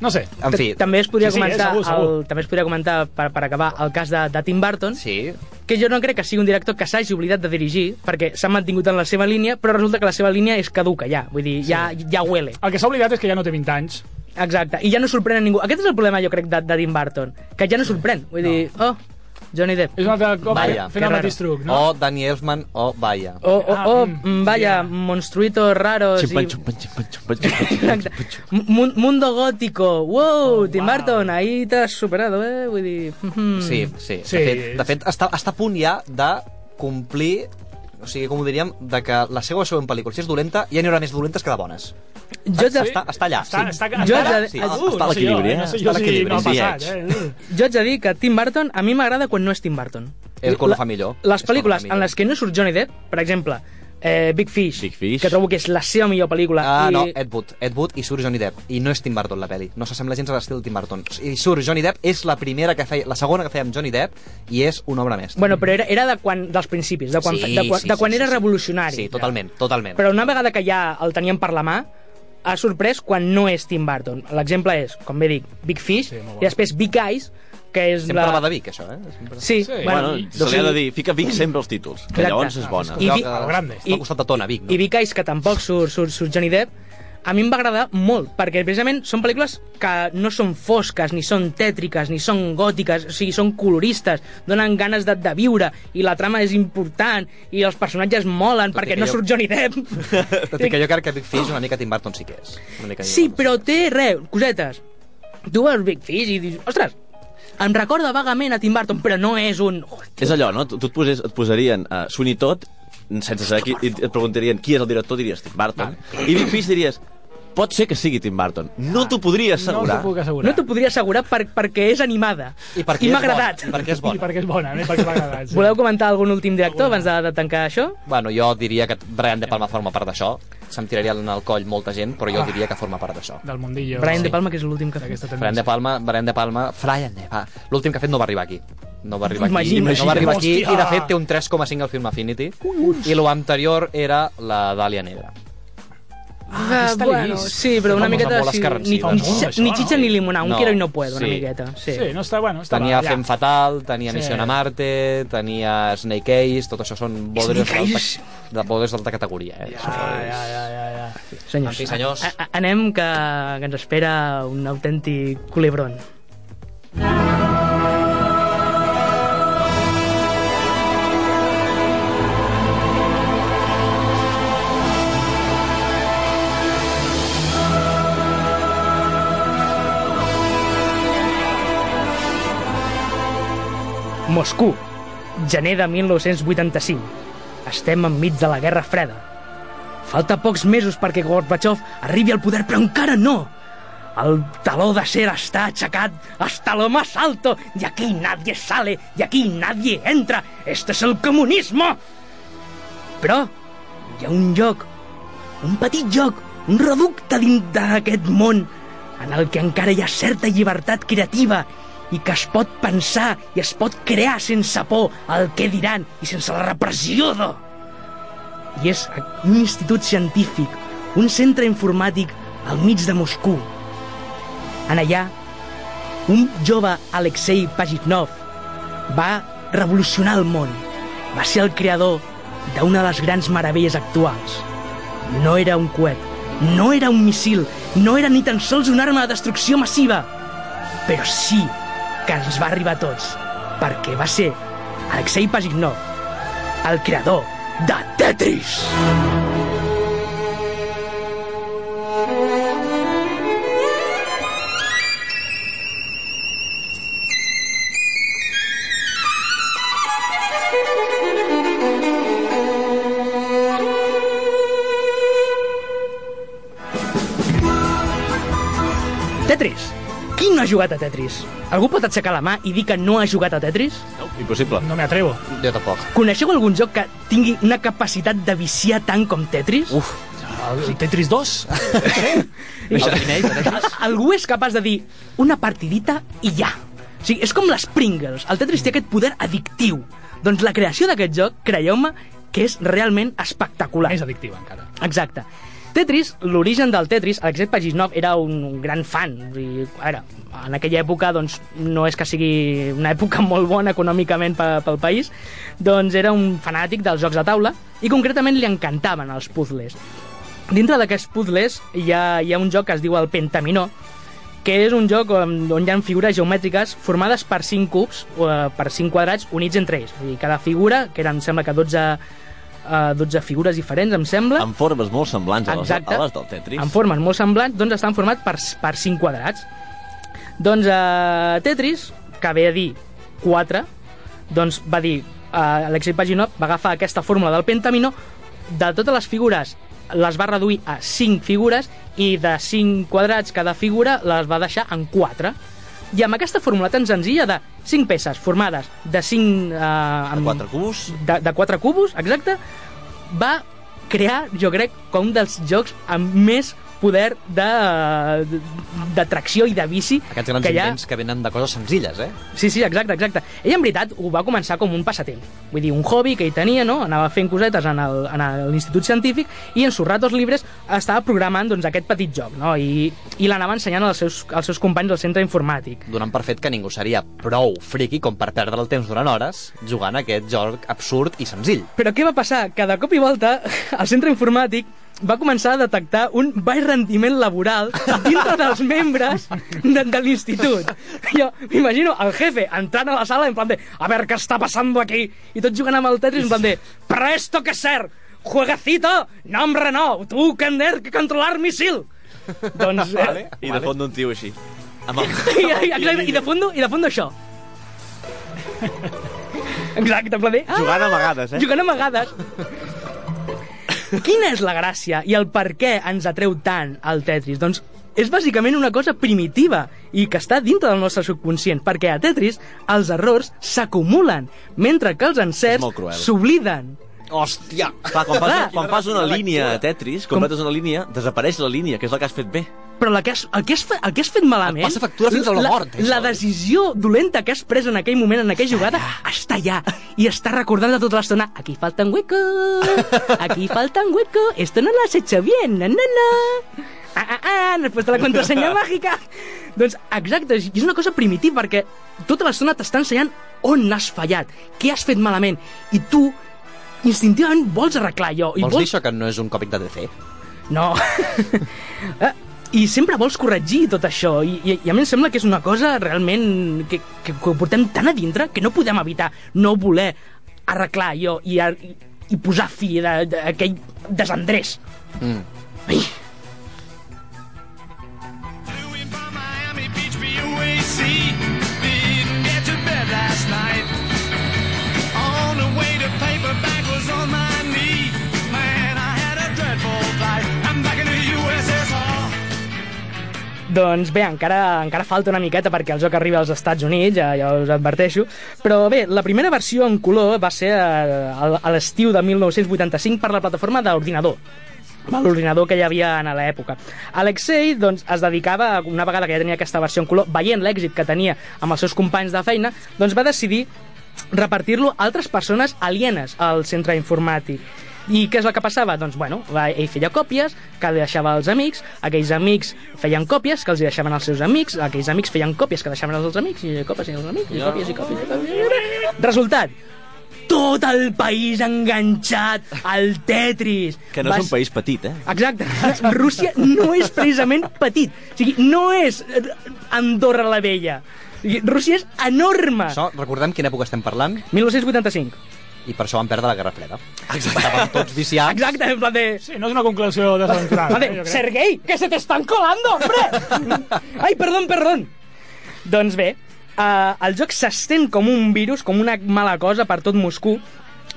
No sé. En fi, També es podria Sí, sí, eh, comentar, segur, segur. El, també es podria comentar per, per acabar, el cas de, de Tim Burton, sí, que jo no crec que sigui un director que s'hagi oblidat de dirigir, perquè s'ha mantingut en la seva línia, però resulta que la seva línia és caduca ja, vull dir, ja, ja huele. El que s'ha oblidat és que ja no té 20 anys. Exacte, i ja no sorprèn a ningú. Aquest és el problema, jo crec, de, de Tim Burton, que ja no sorprèn. Vull dir, oh, Johnny Depp. És un altre cop Vaya, fent que el raro. mateix truc, no. no? o Danny Elfman o Vaya. O, o, Ah, oh, mm, vaya, yeah. monstruitos raros. Xumpa, i- xumpa, xumpa, xumpa, xumpa, [laughs] Exacte. xumpa, xumpa. Mu- Mundo gótico. Wow, Tim wow. Burton, ahí t'has superado, eh? Vull dir... mhm. Sí, sí. mm. Sí, sí de fet, és- de fet està, està a punt ja de complir o sigui, com ho diríem, de que la seva següent pel·lícula, si és dolenta, ja n'hi haurà més dolentes que de bones. Jo, Sí? sí? Està, està allà. Està, està, Jo està, haig de- està, sí, uh, està a no sé jo, l'equilibri, eh? eh? No sé Està jo a si l'equilibri, no ha sí, passat, Edge. eh? jo haig de dir que Tim Burton a mi m'agrada quan no és Tim Burton. El quan La- ho fa millor. Les És quan ho fa pel·lícules millor. en les que no surt Johnny Depp, per exemple, eh, Big Fish, Big Fish. que trobo que és la seva millor pel·lícula. Ah, i... no, Ed Wood. Ed Wood i surt Johnny Depp. I no és Tim Burton, la pel·li. No s'assembla gens a l'estil de Tim Burton. I surt Johnny Depp, és la primera que feia, la segona que feia amb Johnny Depp, i és una obra mestra. Bueno, però era, era de quan, dels principis, de quan, Sí, de quan, sí, de quan sí, era sí, sí. revolucionari. Sí, totalment, totalment. Però una vegada que ja el teníem per la mà, ha sorprès quan no és Tim Burton. L'exemple és, com bé dic, Big Fish, Sí, i molt bo. després Big Eyes, que és Sempre la... va de Vic, això, eh? Sempre... Sí, Sí. Bueno, i- se li ha de dir, fica Vic sempre als títols, que Exacte. llavors és bona. I Allò Vic- que a lo grande. Està al costat de Tona, Vic, no? I Big Eyes, que tampoc surt, surt, surt Johnny Depp, a mi em va agradar molt, perquè precisament són pel·lícules que no són fosques, ni són tètriques, ni són gòtiques, o sigui, són coloristes, donen ganes de, de viure, i la trama és important, i els personatges molen, Tot i perquè que no jo- surt Johnny Depp. Tot i [laughs] que jo crec que Big Fish una mica Tim Burton sí que és. Una mica Sí, però té, re, cosetes. Tu veus Big Fish i dius, ostres, em recorda vagament a Tim Burton, però no és un... "Oh, És allò, no? Tu, tu et, posés, et posarien uh, Sweeney Todd, sense saber qui, i et preguntarien qui és el director, diries Tim Burton. I Big Fish diries, pot ser que sigui Tim Burton. No t'ho podria Ah. No us assegurar. ho puc assegurar. No t'ho podria assegurar per, perquè és animada. I, perquè m'ha és bona, agradat. I perquè és I bona. perquè és bona, no? I perquè m'ha agradat. sí. Voleu comentar algun últim director abans de, de tancar això? Bueno, jo diria que Brian De Palma forma part d'això. Se'm tiraria al coll molta gent, però jo diria que forma part d'això. Del mundillo. Brian sí. De Palma, que és l'últim que ha fet. Aquesta Brian tendència. De Palma, Brian De Palma, Brian De Palma. L'últim que ha fet no va arribar aquí. No va arribar aquí. Imagina't. no va arribar aquí i de Hòstia! fet té un 3,5 al film Affinity i lo anterior era la Dàlia Negra. Ah, està bueno, list. sí, però una Vamos amb miqueta... boles Sí, ni, carrancides, ni, no? xitxa, Això, ni no? xitxa ni limonà, un No, quiero i no puedo, una sí. miqueta. Sí. Sí, no està, bueno, estava Tenia allà. Fem Fatal, tenia Sí. Missió a Marte, tenia Snake Eyes, tot això són bodres Snake d'alta Eyes. de bodres d'alta categoria. Eh? Ja, ja, ja, ja, ja. Senyors, En fi, senyors. a- a- anem, que, que ens espera un autèntic culebron. Moscou, gener de 1985. Estem enmig de la Guerra Freda. Falta pocs mesos perquè Gorbachev arribi al poder, però encara no. El taló d'acer està aixecat hasta lo más alto. De aquí nadie sale, de aquí nadie entra. Este es el comunismo. Però hi ha un lloc, un petit lloc, un reducte dins d'aquest món en el que encara hi ha certa llibertat creativa i que es pot pensar i es pot crear sense por al que diran i sense la repressió de i és un institut científic, un centre informàtic al mig de Moscou. En allà, un jove Alexei Pajitnov va revolucionar el món. Va ser el creador d'una de les grans meravelles actuals. No era un coet, no era un missil, no era ni tan sols una arma de destrucció massiva, però sí que ens va arribar a tots, perquè va ser Alexei Pajitnov, el creador de Tetris. Tetris! Qui no ha jugat a Tetris? Algú pot aixecar la mà i dir que no ha jugat a Tetris? Impossible. No me atrevo. Jo tampoc. Coneixeu algun joc que tingui una capacitat de viciar tant com Tetris? Uf, El Tetris 2? [laughs] Algú és capaç de dir una partidita i ja. O sigui, és com les Pringles. El Tetris té aquest poder addictiu. Doncs la creació d'aquest joc, creieu-me, que és realment espectacular. Més addictiva, encara. Exacte. Tetris, l'origen del Tetris, Alexei Pajitnov era un gran fan. O sigui, a veure, en aquella època doncs, no és que sigui una època [laughs] molt bona econòmicament pe- pel país, doncs era un fanàtic dels jocs de taula i concretament li encantaven els puzzles. Dintre d'aquests puzzles hi ha, hi ha un joc que es diu el Pentaminó, que és un joc on, on hi ha figures geomètriques formades per 5 cubs, eh, per 5 quadrats units entre ells. Vull dir, cada figura, que era, em sembla que 12, eh, 12 figures diferents, em sembla, Amb formes molt semblants a les, Exacte. a les del Tetris. en formes molt semblants, doncs estan formats per, per 5 quadrats. Doncs eh, Tetris, que ve a dir 4, doncs va dir, eh, Alexei Paginov va agafar aquesta fórmula del pentaminó, de totes les figures les va reduir a 5 figures i de 5 quadrats cada figura les va deixar en 4. I amb aquesta fórmula tan senzilla de 5 peces formades de 5... Eh, De amb, quatre cubs. de, de 4 cubos, exacte, va crear, jo crec, com un dels jocs amb més poder de, de, de tracció i de vici Aquests grans que hi ha. invents que venen de coses senzilles, eh? Sí, sí, exacte, exacte. Ell, en veritat, ho va començar com un passatemps. Vull dir, un hobby que ell tenia, no? Anava fent cosetes en el- en l'Institut Científic i en sus ratos llibres estava programant doncs, aquest petit joc, no? I, i l'anava ensenyant als seus, als seus companys del centre informàtic. Donant per fet que ningú seria prou friqui com per perdre el temps durant hores jugant a aquest joc absurd i senzill. Però què va passar? Que de cop i volta el centre informàtic va començar a detectar un baix rendiment laboral dintre dels membres de, de l'institut. Jo m'imagino el jefe entrant a la sala en plan de a veure què està passant aquí i tots jugant amb el Tetris en plan de presto que ser, jueguecito, nombre no, tu que tener que controlar misil. Doncs... Eh, I de fons un tio així. Amb el... [laughs] i, i, exacte, i de fondo, i de [laughs] fondo això. Exacte, en plan de... Ah, Jugant amagades, eh? Jugant amagades. Quina és la gràcia i el per què ens atreu tant el Tetris? Doncs és bàsicament una cosa primitiva i que està dintre del nostre subconscient, perquè a Tetris els errors s'acumulen, mentre que els És molt cruel. encerts s'obliden. Hòstia! Clar, quan fas, Clar. quan fas una línia a Tetris, completes una línia, desapareix la línia, que és la que has fet bé. Però la que has, el, que has, fe- el que has fet malament... Et passa factura fins a la mort, eh, La, la això. decisió dolenta que has pres en aquell moment, en aquella jugada, està allà. I està recordant de tota l'estona, aquí falta un hueco, aquí falta un hueco, esto no lo has hecho bien, na, na, na. Ah, ah, ah, no has puesto la [laughs] contrasenya màgica. Doncs exacte, és és una cosa primitiva, perquè tota l'estona t'està ensenyant on has fallat, què has fet malament, i tu instintivament vols arreglar allò. i Vols dir això que no és un còpic de DC? no. [laughs] Eh, I sempre vols corregir tot això. I, i, I a mi em sembla que és una cosa realment que, que, que ho portem tan a dintre que no podem evitar no voler arreglar allò i, ar- i, i posar fi de- de- a aquell desendrés. Mm. Ai, Doing by Miami Beach, BUAC. Didn't get to bed last night. On the way to paperback was on my knee. Man, I had a dreadful flight. I'm back in the USSR. Doncs bé, encara, encara falta una miqueta perquè el joc arriba als Estats Units, ja, ja us adverteixo. Però bé, la primera versió en color va ser eh, a, a l'estiu de 1985 per la plataforma d'ordinador amb l'ordinador que hi havia en l'època. Alexei doncs, es dedicava, una vegada que ja tenia aquesta versió en color, veient l'èxit que tenia amb els seus companys de feina, doncs va decidir repartir-lo a altres persones alienes al centre informàtic. I què és el que passava? Doncs, bueno, va- ell feia còpies que li deixava als amics, aquells amics feien còpies que els hi deixaven als seus amics, aquells amics feien còpies que deixaven als amics, i còpies i als amics, i còpies i còpies. I còpies. Resultat, tot el país enganxat al Tetris. Que no Va és un ser- país petit, eh? Exacte. Rússia no és precisament petit. O sigui, no és eh, Andorra la Vella. O sigui, Rússia és enorme. Això, recordem quina època estem parlant 1985. i per això van perdre la Guerra Freda. Estaven tots viciats. Exacte, en plan de... Sí, no és una conclusió desaventurada. Vale, eh, jo crec. Sergei, que se te están colando, [laughs] hombre! Ai, perdón, perdón! Doncs bé, eh, el joc s'estén com un virus, com una mala cosa per tot Moscou,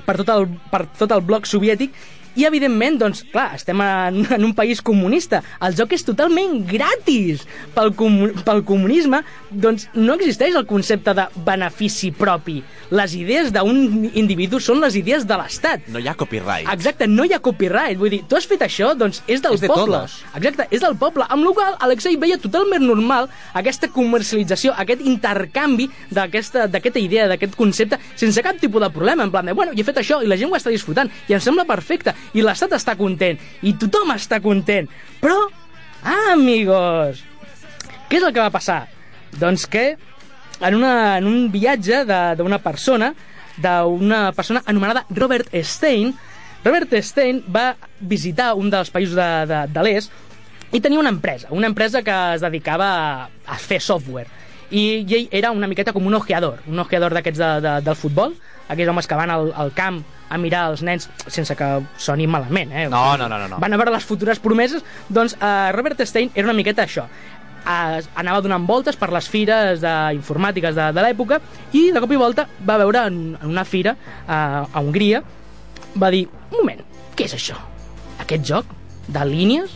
per tot el, per tot el bloc soviètic, I, evidentment, doncs, clar, estem en, [laughs] en un país comunista. El joc és totalment gratis. Pel, comu pel comunisme, doncs, no existeix el concepte de benefici propi. Les idees d'un individu són les idees de l'Estat. No hi ha copyright. Exacte, no hi ha copyright. Vull dir, tu has fet això, doncs és del És de poble. todos. Exacte, és del poble. Amb la qual cosa, Alexei veia totalment normal aquesta comercialització, aquest intercanvi d'aquesta d'aquesta idea, d'aquest concepte, sense cap tipus de problema. En plan de, bueno, jo he fet això i la gent ho està disfrutant i em sembla perfecte i l'estat està content i tothom està content. Però, ah, amigos, què és el que va passar? Doncs que en, una, en un viatge de- d'una persona, d'una persona anomenada Robert Stein, Robert Stein va visitar un dels països de, de, de l'est i tenia una empresa, una empresa que es dedicava a, a fer software. I, i ell era una miqueta com un ojeador, un ojeador d'aquests de, de, del futbol, aquells homes que van al, al camp a mirar els nens sense que soni malament, eh? No, no, no, no, no. Van a veure les futures promeses, doncs eh, Robert Stein era una miqueta això. Eh, anava donant voltes per les fires de, informàtiques de, de l'època i de cop i volta va veure en, en una fira eh, a Hongria va dir, un moment, què és això? Aquest joc de línies?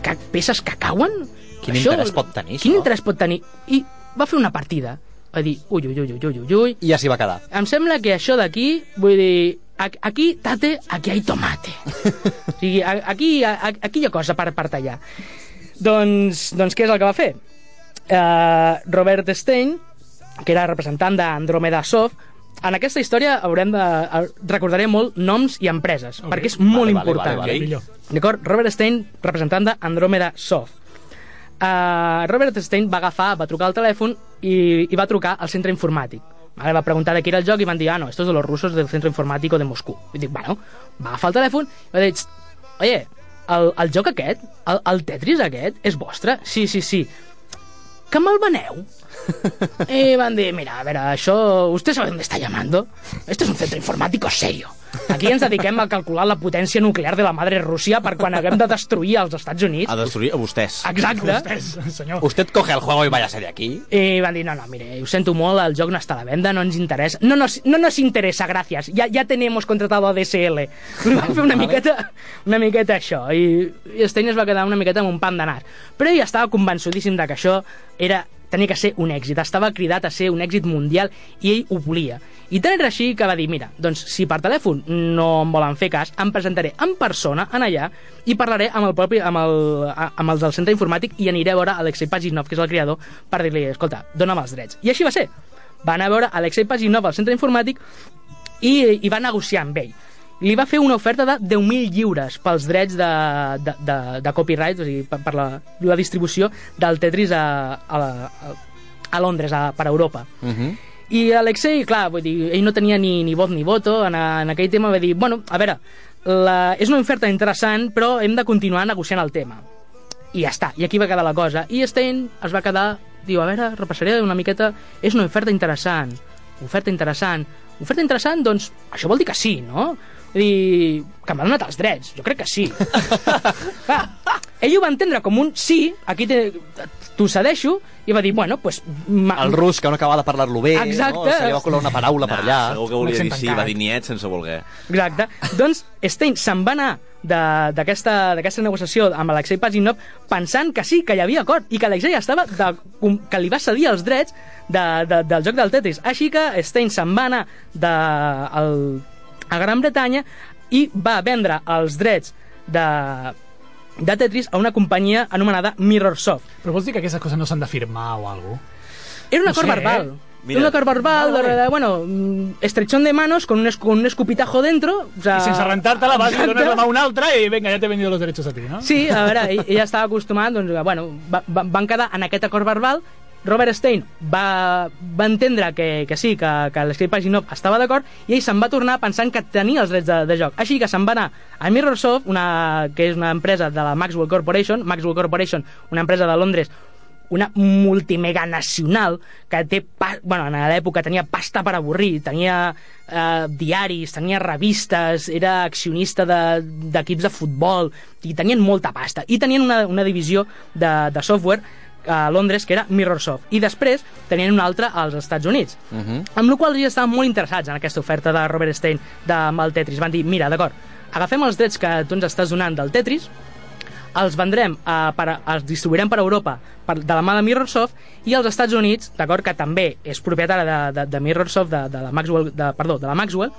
Que, peces que cauen? Quin interès pot tenir, Quin això? interès pot tenir? I va fer una partida. Va dir, ui, ui, ui, ui, ui, ui, ui. I ja s'hi va quedar. Em sembla que això d'aquí, vull dir, a- aquí, tate, aquí hay tomate. o sigui, a- aquí, a- a- aquí hi ha cosa per, per tallar. Doncs, doncs què és el que va fer? Uh, Robert Stein, que era representant d'Andromeda Soft, en aquesta història haurem de, recordaré molt noms i empreses, okay. perquè és molt vale, important. vale, vale. Millor. D'acord? Robert Stein, representant d'Andromeda Soft. Uh, Robert Stein va agafar, va trucar al telèfon i, i va trucar al centre informàtic. Vale, va preguntar de què era el joc i van dir, ah, no, esto es de los rusos del centro informático de Moscú. I dic, bueno, va agafar el telèfon i va dir, "Txt, oye, el, el joc aquest, el, el Tetris aquest, és vostre? Sí, sí, sí. Que me'l veneu? Y van de, mira, a ver, això... Usted sabe dónde está llamando? Esto es un centro informático serio. Aquí ens dediquem a calcular la potència nuclear de la madre Rússia per quan haguem de destruir els Estats Units. A destruir a vostès. Exacte. Vostès, senyor. Usted coge el juego y váyase de aquí. I van dir, no, no, mire, ho sento molt, el joc no està a la venda, no ens interessa. No nos, no nos interessa, gràcies. Ja, ja tenemos contratado a DSL. Li van fer una miqueta, una miqueta això. I, i Stein es va quedar una miqueta amb un pan de nas. Però ell estava convençudíssim de que això era tenia que ser un èxit. Estava cridat a ser un èxit mundial i ell ho volia. I tant era així que va dir, mira, doncs si per telèfon no em volen fer cas, em presentaré en persona en allà i parlaré amb el propi, amb, el, a- amb els del centre informàtic i aniré a veure Alexei Paginov, que és el creador, per dir-li, escolta, dona'm els drets. I així va ser. Va anar a veure Alexei Paginov al centre informàtic i, i va negociar amb ell. Li va fer una oferta de 10.000 lliures pels drets de, de, de, de copyright, o sigui, per, per la, la distribució del Tetris a, a, la, a, a Londres, a, per Europa. Uh -huh. I Alexei, clar, vull dir, ell no tenia ni, ni vot ni voto, en, en aquell tema va dir, bueno, a veure, la, és una oferta interessant, però hem de continuar negociant el tema i ja està, i aquí va quedar la cosa. I Stein es va quedar, diu, a veure, repassaré una miqueta, és una oferta interessant, oferta interessant, oferta interessant, doncs, això vol dir que sí, no? Vull dir, que m'ha donat els drets, jo crec que sí. Clar, ell ho va entendre com un sí, aquí te- t'ho cedeixo, i va dir, bueno, doncs... ma- El rus, que no acaba de parlar-lo bé, no? Exacte. se li va colar una paraula per allà. Ah, Segur que volia L'accent dir sí, tancat. va dir niet sense voler. Exacte. Doncs Stein se'n va anar de- d'aquesta d'aquesta negociació amb Alexei Pazinov pensant que sí, que hi havia acord i que Alexei estava de, com- que li va cedir els drets de, de, del joc del Tetris. Així que Stein se'n va anar de, el, a Gran Bretanya i va vendre els drets de, de Tetris a una companyia anomenada Mirrorsoft. Però vols dir que aquestes coses no s'han de firmar o alguna Era un acord sé, eh? Ah, verbal. Mira. un acord verbal, Vale, vale. de, bueno, mm, estrechón de manos con un, es- con un escupitajo dentro. O sea, I sense rentar-te-la vas i Exacte. dones la mà a una altra i vinga, ja t'he vendido los derechos a ti, no? Sí, a veure, ell, ell estava acostumat, doncs, que, bueno, va, va, van quedar en aquest acord verbal, Robert Stein va, va entendre que, que sí, que, que l'Escape Paginov estava d'acord i ell se'n va tornar pensant que tenia els drets de, de joc. Així que se'n va anar a Mirrorsoft, una, que és una empresa de la Maxwell Corporation, Maxwell Corporation, una empresa de Londres una multimega nacional que té, pa- bueno, en l'època tenia pasta per avorrir, tenia eh, diaris, tenia revistes, era accionista de- d'equips de, de futbol, i tenien molta pasta. I tenien una, una divisió de, de software a Londres, que era Mirrorsoft. I després tenien una altra als Estats Units. Uh -huh. Amb la qual cosa ja estaven molt interessats en aquesta oferta de Robert Stein de amb el Tetris. Van dir, mira, d'acord, agafem els drets que tu ens estàs donant del Tetris, els vendrem, a, per, a- els distribuirem per Europa per, de la mà de Mirrorsoft i als Estats Units, d'acord, que també és propietària de, de, de Mirrorsoft, de, de la Maxwell, de, perdó, de la Maxwell,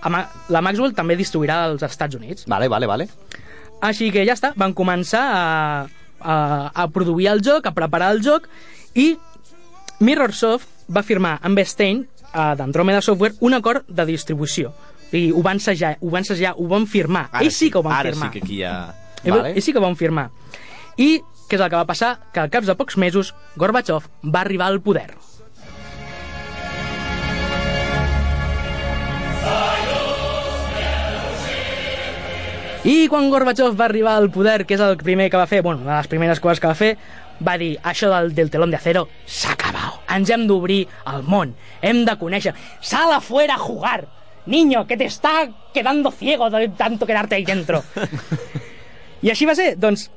ama- la Maxwell també distribuirà als Estats Units. Vale, vale, vale. Així que ja està, van començar a, a, a produir el joc, a preparar el joc, i Mirrorsoft va firmar amb Stein, eh, d'Andromeda Software, un acord de distribució. I ho van segellar, ho van segellar, ho van firmar. Ara Ells sí que ho van ara firmar. sí que aquí hi ha... Eh, Vale. I sí que van firmar. I què és el que va passar? Que al cap de pocs mesos, Gorbachev va arribar al poder. I quan Gorbachev va arribar al poder, que és el primer que va fer, bueno, una de les primeres coses que va fer, va dir, això del, del telón de acero s'ha acabat. Ens hem d'obrir al món, hem de conèixer. Sal afuera a jugar! Niño, que te está quedando ciego de tanto quedarte ahí dentro. I així va ser, doncs,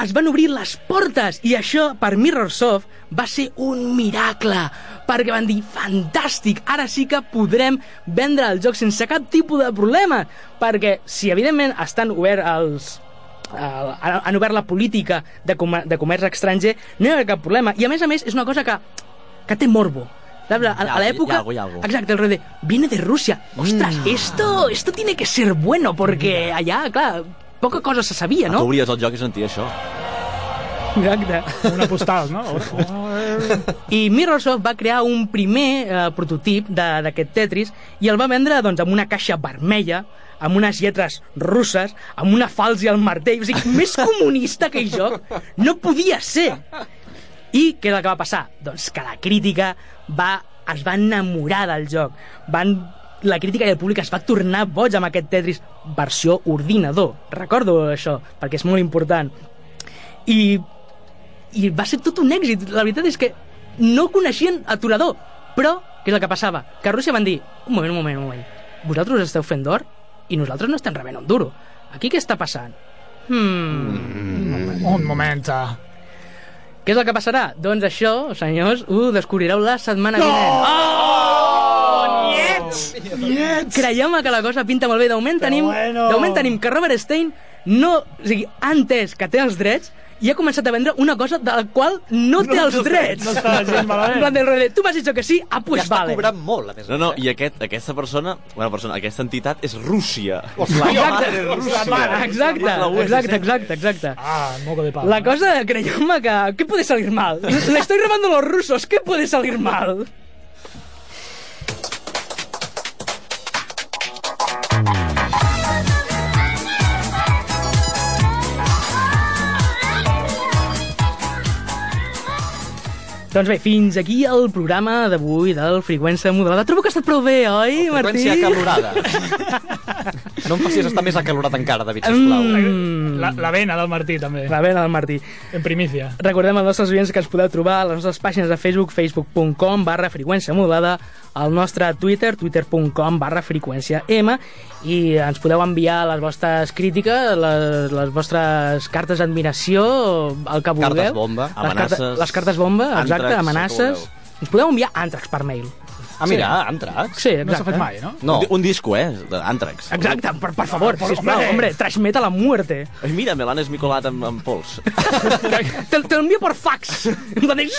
es van obrir les portes i això per Mirrorsoft va ser un miracle perquè van dir, fantàstic, ara sí que podrem vendre el joc sense cap tipus de problema perquè si evidentment estan obert els eh, han han obert la política de, comer de comerç estranger, no hi ha cap problema. I a més a més és una cosa que, que té morbo. Saps? A, a Hi ha l'època... algo, hi ha algo. Exacte, el rei de... Viene de Rússia. Ostres, esto, esto tiene que ser bueno, porque allà, clar, poca cosa se sabia, No? no? Tu obries el joc i sentia això. Exacte. Una postal, no? [laughs] I Mirrorsoft va crear un primer eh, prototip de- d'aquest Tetris i el va vendre doncs, amb una caixa vermella, amb unes lletres russes, amb una falç i el martell. O sigui, més comunista que el joc no podia ser. I què és el que va passar? Doncs que la crítica va, es va enamorar del joc. Van, la crítica i el públic es va tornar boig amb aquest Tetris versió ordinador. Recordo això, perquè és molt important. I i va ser tot un èxit. La veritat és que no coneixien aturador, però què és el que passava? Que a Rússia van dir, un moment, un moment, un moment, vosaltres esteu fent d'or i nosaltres no estem rebent un duro. Aquí què està passant? Hmm... Un moment. ah, Què és el que passarà? Doncs això, senyors, ho descobrireu la setmana no! vinent. Oh! Niets! Niets! Creiem que la cosa pinta molt bé. De moment tenim, bueno. de moment tenim que Robert Stein no, o sigui, ha entès que té els drets i ha començat a vendre una cosa de la qual no, té els drets. No està gens malament. En plan del rotllet, tu m'has dit que sí, ah, pues ja està vale. cobrant molt, a més. eh? No, no, i aquest, aquesta persona, bueno, persona, aquesta entitat és Rússia. Exacte, exacte, exacte, exacte, exacte. Ah, moco de palo. La cosa, creiem que... Què puede salir mal? Le estoy robando a los rusos, què puede salir mal? Doncs bé, fins aquí el programa d'avui del Freqüència Modulada. Trobo que ha estat prou bé, oi, Martí? Freqüència acalorada. no em facis estar més acalorat encara, David, sisplau. Mm, La, la vena del Martí, també. la vena del Martí. En primícia. Recordem als nostres oients que ens podeu trobar a les nostres pàgines de Facebook, facebook.com barra freqüència modulada, al nostre Twitter, twitter.com barra freqüència M, i ens podeu enviar les vostres crítiques, les, les vostres cartes d'admiració, el que vulgueu. bomba, les amenaces, cartes- Les cartes bomba, exacte, àntrax, el que amenaces. Ens podeu enviar àntrax per mail. Ah, mira, sí. àntracs. Sí, exacte. No s'ha fet mai, no? No, Un, di- un disco, eh, d'Antrax. Exacte, per, Ah, per favor, Por- sisplau, hombre. hombre, trash metal a muerte. Ai, mira, Melanes Micolat amb, amb pols. Te, te l'envio per [laughs] fax. Em va dir,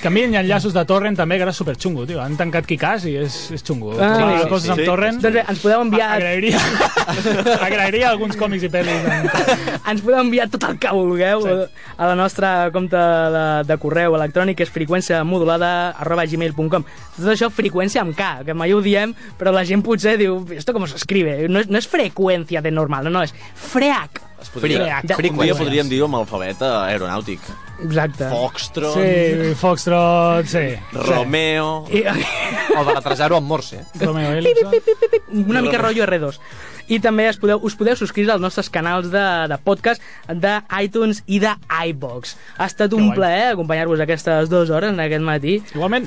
Canvien enllaços de Torrent també, que era superxungo, tio. Han tancat Kikàs i és, és xungo. Ah, Trobar sí, coses sí, amb sí. Torrent... Doncs bé, ens podeu enviar... Agrairia, agrairia alguns còmics i pel·lis. En... ens podeu enviar tot el que vulgueu sí. a la nostra compte de, de correu electrònic, que és freqüenciamodulada arroba gmail.com. Tot això freqüència amb K, que mai ho diem, però la gent potser diu, esto com s'escribe? No, és- no és freqüència de normal, no, no, és freac. Es podria, Fric. un dia podríem dir-ho amb alfabet eh, aeronàutic. Exacte. Foxtron, Sí, Foxtrot, sí. Romeo... [laughs] I, [laughs] o de letrejar-ho amb morse. Romeo Elipson. una mica rotllo R2. I també es podeu, us podeu subscriure als nostres canals de, de podcast de iTunes i de iVox. Ha estat un guai. plaer acompanyar-vos aquestes dues hores en aquest matí. Igualment,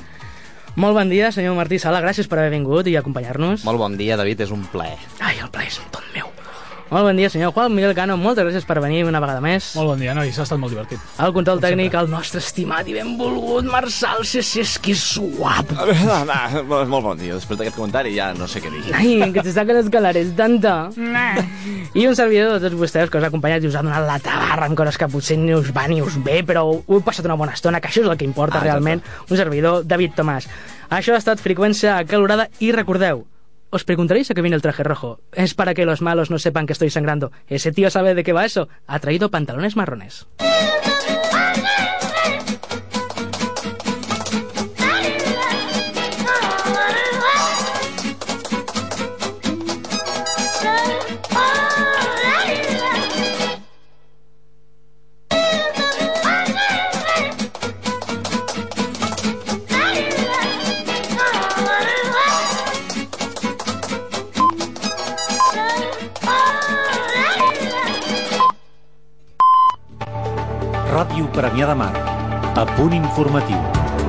Molt bon dia, senyor Martí Sala. Gràcies per haver vingut i acompanyar-nos. Molt bon dia, David, és un plaer. Ai, el plaer és tot meu. Molt bon dia, senyor Juan Miguel Cano. Moltes gràcies per venir una vegada més. Molt bon dia, nois, ha estat molt divertit. El control tècnic, el nostre estimat i benvolgut Marçal Cessés, que és guap. A veure, va, va, molt bon dia. Després d'aquest comentari ja no sé què dir. Ai, que te saquen els galares tanta. I un servidor de tots vostès que us ha acompanyat i us ha donat la tabarra amb coses que potser ni us va ni us bé, però ho he passat una bona estona, que això és el que importa Ah, ah, exacte. realment. Un servidor, David Tomàs. Això ha estat Freqüència Acalorada i recordeu, Os preguntaréis a qué viene el traje rojo. Es para que los malos no sepan que estoy sangrando. Ese tío sabe de qué va eso. Ha traído pantalones marrones. Ràdio Premià de Mar. A punt informatiu.